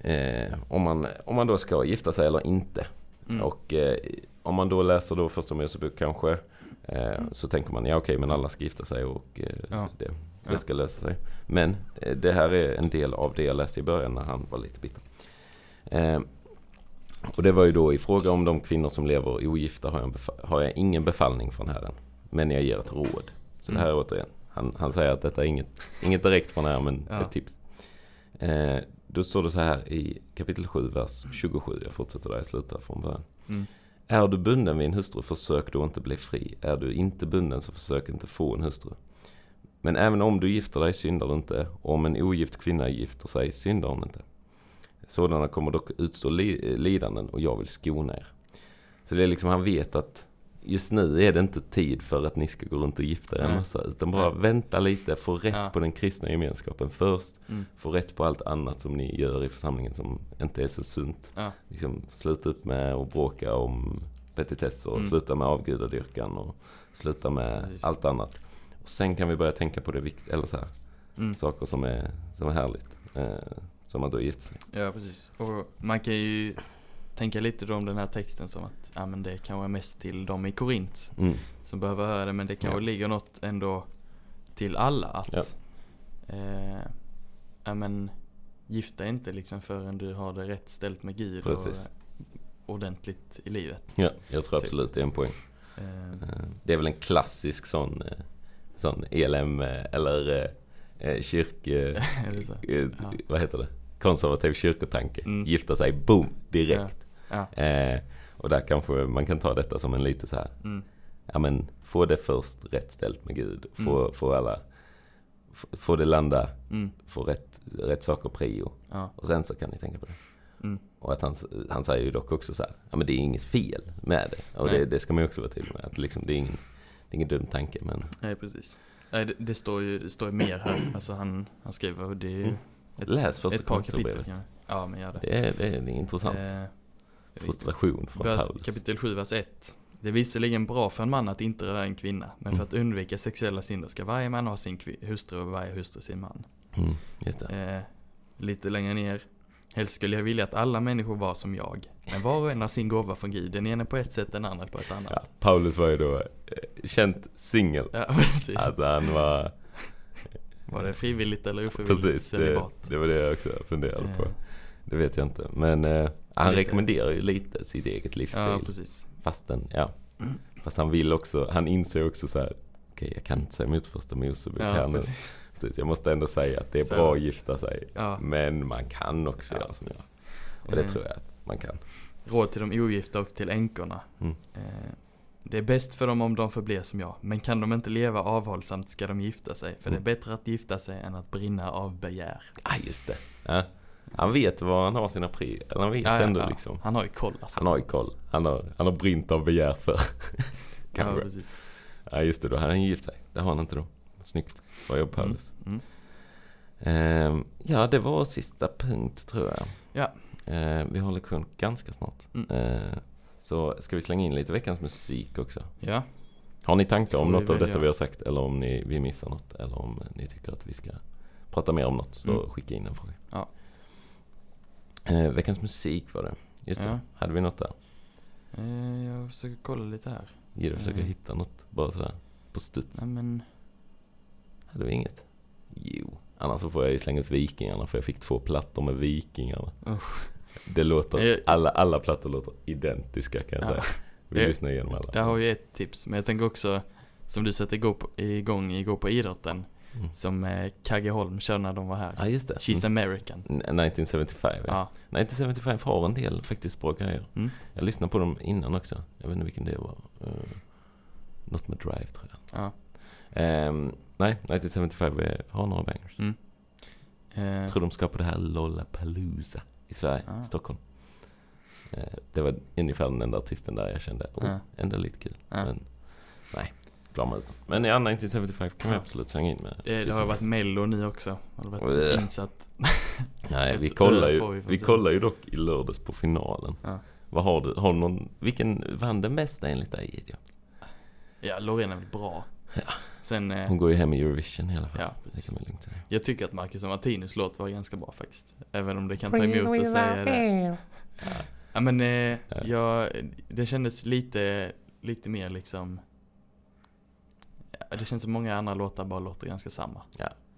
Speaker 2: Eh, om, man, om man då ska gifta sig eller inte.
Speaker 1: Mm.
Speaker 2: Och eh, om man då läser då första Mosebok kanske. Eh, så tänker man ja okej men alla ska gifta sig och eh,
Speaker 1: Mm. Ja.
Speaker 2: det, det
Speaker 1: Ja.
Speaker 2: ska lösa sig. Men eh, det här är en del av det jag läste i början när han var lite bitter. Eh, och det var ju då i fråga om de kvinnor som lever ogifta har jag, en befa- har jag ingen befallning från Herren. Men jag ger ett råd. Så
Speaker 1: Mm.
Speaker 2: det här är återigen. Han, han säger att detta är inget, inget direkt från Herren men
Speaker 1: Ja.
Speaker 2: ett tips. Eh, då står det så här i kapitel 7, vers 27. Jag fortsätter där jag slutar från början.
Speaker 1: Mm.
Speaker 2: Är du bunden vid en hustru, försök då inte bli fri. Är du inte bunden, så försök inte få en hustru. Men även om du gifter dig syndar du inte, och om en ogift kvinna gifter sig syndar hon inte. Sådana kommer dock utstå li- eh, lidanden och jag vill skona er. Så det är liksom, han vet att just nu är det inte tid för att ni ska gå runt och gifta er en
Speaker 1: Nej.
Speaker 2: massa. Utan bara
Speaker 1: Nej.
Speaker 2: vänta lite, få rätt
Speaker 1: Ja.
Speaker 2: på den kristna gemenskapen först.
Speaker 1: Mm.
Speaker 2: Få rätt på allt annat som ni gör i församlingen som inte är så sunt.
Speaker 1: Ja.
Speaker 2: Liksom, sluta upp med att bråka om petitesser och
Speaker 1: Mm.
Speaker 2: sluta med avgudadyrkan och sluta med
Speaker 1: Precis.
Speaker 2: allt annat. Och sen kan vi börja tänka på det vikt- eller så här,
Speaker 1: Mm.
Speaker 2: saker som är, som är härligt. Eh, som att du har gift sig.
Speaker 1: Ja, precis. Och man kan ju tänka lite då om den här texten som att ja, men det kanske är mest till dem i Korint
Speaker 2: Mm.
Speaker 1: som behöver höra det, men det kanske
Speaker 2: Ja.
Speaker 1: ligger något ändå till alla att
Speaker 2: Ja.
Speaker 1: eh, ja, men gifta dig inte liksom förrän du har det rätt ställt med Gud och
Speaker 2: Precis.
Speaker 1: ordentligt i livet.
Speaker 2: Ja, jag tror
Speaker 1: Typ.
Speaker 2: absolut det är en poäng.
Speaker 1: Eh,
Speaker 2: Eh, Det är väl en klassisk sån, eh, sån ELM eh, eller eh, eh, kyrk... eh,
Speaker 1: är det så?
Speaker 2: eh,
Speaker 1: Ja.
Speaker 2: Vad heter det? Konservativ kyrkotanke.
Speaker 1: Mm.
Speaker 2: Gifta sig, boom, direkt.
Speaker 1: Ja.
Speaker 2: Eh, och där kanske man kan ta detta som en lite så här,
Speaker 1: Mm.
Speaker 2: ja men få det först rätt ställt med Gud. Få,
Speaker 1: Mm.
Speaker 2: få alla, f- få det landa,
Speaker 1: Mm.
Speaker 2: få rätt, rätt saker prio.
Speaker 1: Ja.
Speaker 2: Och sen så kan ni tänka på det.
Speaker 1: Mm.
Speaker 2: Och att han, han säger ju dock också så här, ja men det är inget fel med det. Och
Speaker 1: Nej.
Speaker 2: det, det ska man ju också vara tydlig med. Att liksom, det, är ingen, det är ingen dum tanke men
Speaker 1: Nej, precis. Nej, det, det står ju det står ju mer här. Alltså han, han skriver och det är ju
Speaker 2: Mm. läs första
Speaker 1: ett par kapitel.
Speaker 2: Korinthierbrevet.
Speaker 1: Kan ja, men gör det.
Speaker 2: Det är, det är en intressant
Speaker 1: Eh, visst.
Speaker 2: frustration från
Speaker 1: Vers-
Speaker 2: Paulus.
Speaker 1: kapitel 7, vers 1. Det är visserligen bra för en man att inte röra en kvinna, men för att
Speaker 2: Mm.
Speaker 1: undvika sexuella synder ska varje man ha sin kvi- hustru och varje hustru sin man.
Speaker 2: Mm, just det.
Speaker 1: Eh, lite längre ner. Helst skulle jag vilja att alla människor var som jag. Men var och en har sin gåva från Gud, den ene på ett sätt, den andra på ett annat.
Speaker 2: Ja, Paulus var ju då eh, känt singel.
Speaker 1: Ja, precis.
Speaker 2: Alltså han var...
Speaker 1: Var det frivilligt eller ofrivilligt?
Speaker 2: Precis, det,
Speaker 1: Celibat.
Speaker 2: det var det jag också funderade på.
Speaker 1: Eh,
Speaker 2: Det vet jag inte. Men eh, han
Speaker 1: Lite.
Speaker 2: rekommenderar ju lite sitt eget livsstil.
Speaker 1: Ja, precis.
Speaker 2: Fastän, ja. Fast han vill också, han inser också så här. Okej, jag kan inte säga emot första Mosebok här
Speaker 1: Ja,
Speaker 2: nu.
Speaker 1: precis.
Speaker 2: Precis, Jag måste ändå säga att det är
Speaker 1: Så-
Speaker 2: bra att gifta sig.
Speaker 1: Ja.
Speaker 2: Men man kan också
Speaker 1: Ja,
Speaker 2: göra som jag.
Speaker 1: precis.
Speaker 2: Och det
Speaker 1: Eh,
Speaker 2: Mm. tror jag att man kan.
Speaker 1: Råd till de ogifta och till änkorna.
Speaker 2: Mm.
Speaker 1: Eh, Det är bäst för dem om de förblir som jag, men kan de inte leva avhållsamt ska de gifta sig, för
Speaker 2: Mm.
Speaker 1: det är bättre att gifta sig än att brinna av begär.
Speaker 2: Ah, just det. Ja. Han vet var han har sina pri. Eller han vet
Speaker 1: Ja, ja,
Speaker 2: ändå
Speaker 1: ja.
Speaker 2: liksom.
Speaker 1: Han har ju koll alltså.
Speaker 2: Han har ju koll. Han har, han har brint av begär för.
Speaker 1: Ja,
Speaker 2: Kanske.
Speaker 1: precis.
Speaker 2: Ja, just det. Då hade han gift sig. Det har han inte då. Snyggt. Vad jobb
Speaker 1: Mm,
Speaker 2: Paulus.
Speaker 1: mm.
Speaker 2: Ehm, ja, det var sista punkt tror jag.
Speaker 1: Ja.
Speaker 2: Ehm, vi har lektion ganska snart.
Speaker 1: Mm.
Speaker 2: Ehm, så ska vi slänga in lite veckans musik också.
Speaker 1: Ja,
Speaker 2: Har ni tankar om
Speaker 1: Får vi
Speaker 2: något av
Speaker 1: välja?
Speaker 2: detta vi har sagt eller om ni, vi missar något eller om ni tycker att vi ska prata mer om något så
Speaker 1: Mm.
Speaker 2: skicka in en fråga.
Speaker 1: Ja.
Speaker 2: Eh, veckans musik var det. Just
Speaker 1: Ja.
Speaker 2: det, hade vi något där?
Speaker 1: eh, jag försöker kolla lite här.
Speaker 2: Gidde försöker
Speaker 1: Eh.
Speaker 2: hitta något bara sådär på studs.
Speaker 1: Nej men,
Speaker 2: Hade vi inget? Jo, annars så får jag ju slänga ut Vikingarna för jag fick två plattor med Vikingarna.
Speaker 1: usch.
Speaker 2: Det
Speaker 1: Eh.
Speaker 2: låter, alla, alla plattor låter identiska kan jag
Speaker 1: Ja.
Speaker 2: säga. Vi
Speaker 1: Eh.
Speaker 2: lyssnar igenom alla.
Speaker 1: Där har vi ett tips, men jag tänker också som du satte igång på, igång igår på idrotten,
Speaker 2: Mm.
Speaker 1: som eh, Kagge Holm körde när de var här.
Speaker 2: Ja just det.
Speaker 1: She's American.
Speaker 2: Mm. 1975 ja.
Speaker 1: Ja.
Speaker 2: 1975 har en del faktiskt bra grejer.
Speaker 1: Mm.
Speaker 2: Jag lyssnade på dem innan också. Jag vet inte vilken det var. Uh, något med Drive tror jag.
Speaker 1: ja.
Speaker 2: Ehm, nej, 1975 är- har några bangers.
Speaker 1: Eh,
Speaker 2: Jag tror de ska på det här Lollapalooza i Sverige,
Speaker 1: Ah.
Speaker 2: Stockholm. Eh, det var ungefär den enda artisten där jag kände, oh,
Speaker 1: Ah.
Speaker 2: ändå lite kul.
Speaker 1: Ja.
Speaker 2: Men nej, glömmer ut den. Men ja, 1975 kan vi
Speaker 1: Ja.
Speaker 2: absolut slänga in med.
Speaker 1: Ah. Eh, Det, det har ju varit mello nu också. Har det varit
Speaker 2: Bleh.
Speaker 1: insatt?
Speaker 2: Nej, vi
Speaker 1: ett
Speaker 2: kollar
Speaker 1: öl
Speaker 2: ju,
Speaker 1: får vi Ah. från
Speaker 2: vi
Speaker 1: sidan.
Speaker 2: kollar ju dock i lördags på finalen.
Speaker 1: Ja.
Speaker 2: Vad har du, har du någon, vilken vann den mesta enligt dig Gideon?
Speaker 1: Ja, Loreen är väl bra.
Speaker 2: Ja.
Speaker 1: Sen, eh,
Speaker 2: Hon går ju hem i Eurovision i alla fall.
Speaker 1: ja,
Speaker 2: Det kan
Speaker 1: precis.
Speaker 2: man lugnt säga.
Speaker 1: Jag tycker att Marcus och Martinus låt var ganska bra faktiskt. Även om det kan ta emot att säga det. Ja men, eh,
Speaker 2: Ja.
Speaker 1: jag, det kändes lite, lite mer liksom Ja, det känns som många andra låtar bara låter ganska samma.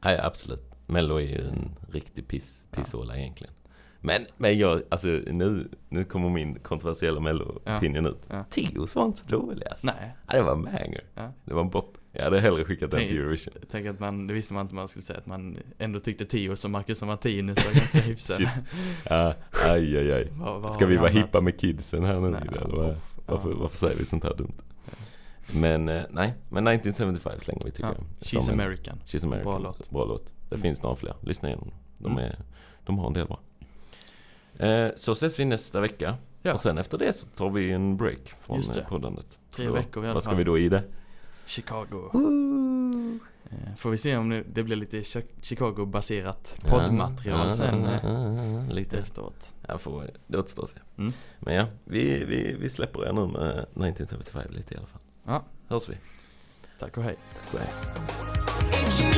Speaker 2: Nej, absolut. Mello är ju en riktig piss, pisshåla egentligen. Men, men jag, alltså nu, nu kommer min kontroversiella Mello-opinion ut.
Speaker 1: Ja.
Speaker 2: Tios var inte så dålig alltså.
Speaker 1: Nej,
Speaker 2: Ja, det var en banger.
Speaker 1: Ja.
Speaker 2: Det var en bop. Jag hade hellre skickat den till
Speaker 1: Tänk-
Speaker 2: Eurovision.
Speaker 1: jag tänker att man, det visste man inte man skulle säga, att man ändå tyckte Tio som Marcus och Martinus var ganska hyfsade.
Speaker 2: Ja, aj, aj, aj.
Speaker 1: Vad- vad
Speaker 2: Ska
Speaker 1: har
Speaker 2: vi vara
Speaker 1: hamnat?
Speaker 2: hippa med kidsen här nu?
Speaker 1: Nej,
Speaker 2: Eller vad,
Speaker 1: uff, ja.
Speaker 2: varför, varför säger vi sånt här dumt? Men eh, nej, men 1975 slänger vi tycker
Speaker 1: Ja.
Speaker 2: jag.
Speaker 1: She's
Speaker 2: Som en-
Speaker 1: American.
Speaker 2: She's American.
Speaker 1: Bra låt.
Speaker 2: Bra låt. Det
Speaker 1: Mm.
Speaker 2: finns några fler. Lyssna igenom dem. De,
Speaker 1: Mm.
Speaker 2: är, de har en del bra. Eh, så ses vi nästa vecka.
Speaker 1: Ja.
Speaker 2: Och sen efter det så tar vi en break från
Speaker 1: Just det.
Speaker 2: eh, poddandet.
Speaker 1: Tre
Speaker 2: Då-
Speaker 1: veckor i alla
Speaker 2: Vad ska
Speaker 1: fall.
Speaker 2: vi då i det?
Speaker 1: Chicago. Eh, Får vi se om det- det blir lite Chi- Chicago-baserat
Speaker 2: Ja,
Speaker 1: poddmaterial
Speaker 2: ja,
Speaker 1: sen
Speaker 2: ja,
Speaker 1: eh,
Speaker 2: ja, ja, Lite.
Speaker 1: efteråt.
Speaker 2: Jag får, det återstår att se.
Speaker 1: Mm.
Speaker 2: Men ja, vi, vi, vi släpper er nu med 1975 lite i alla fall.
Speaker 1: Ja.
Speaker 2: Hörs vi.
Speaker 1: Tack och hej.
Speaker 2: Tack och hej.
Speaker 3: If you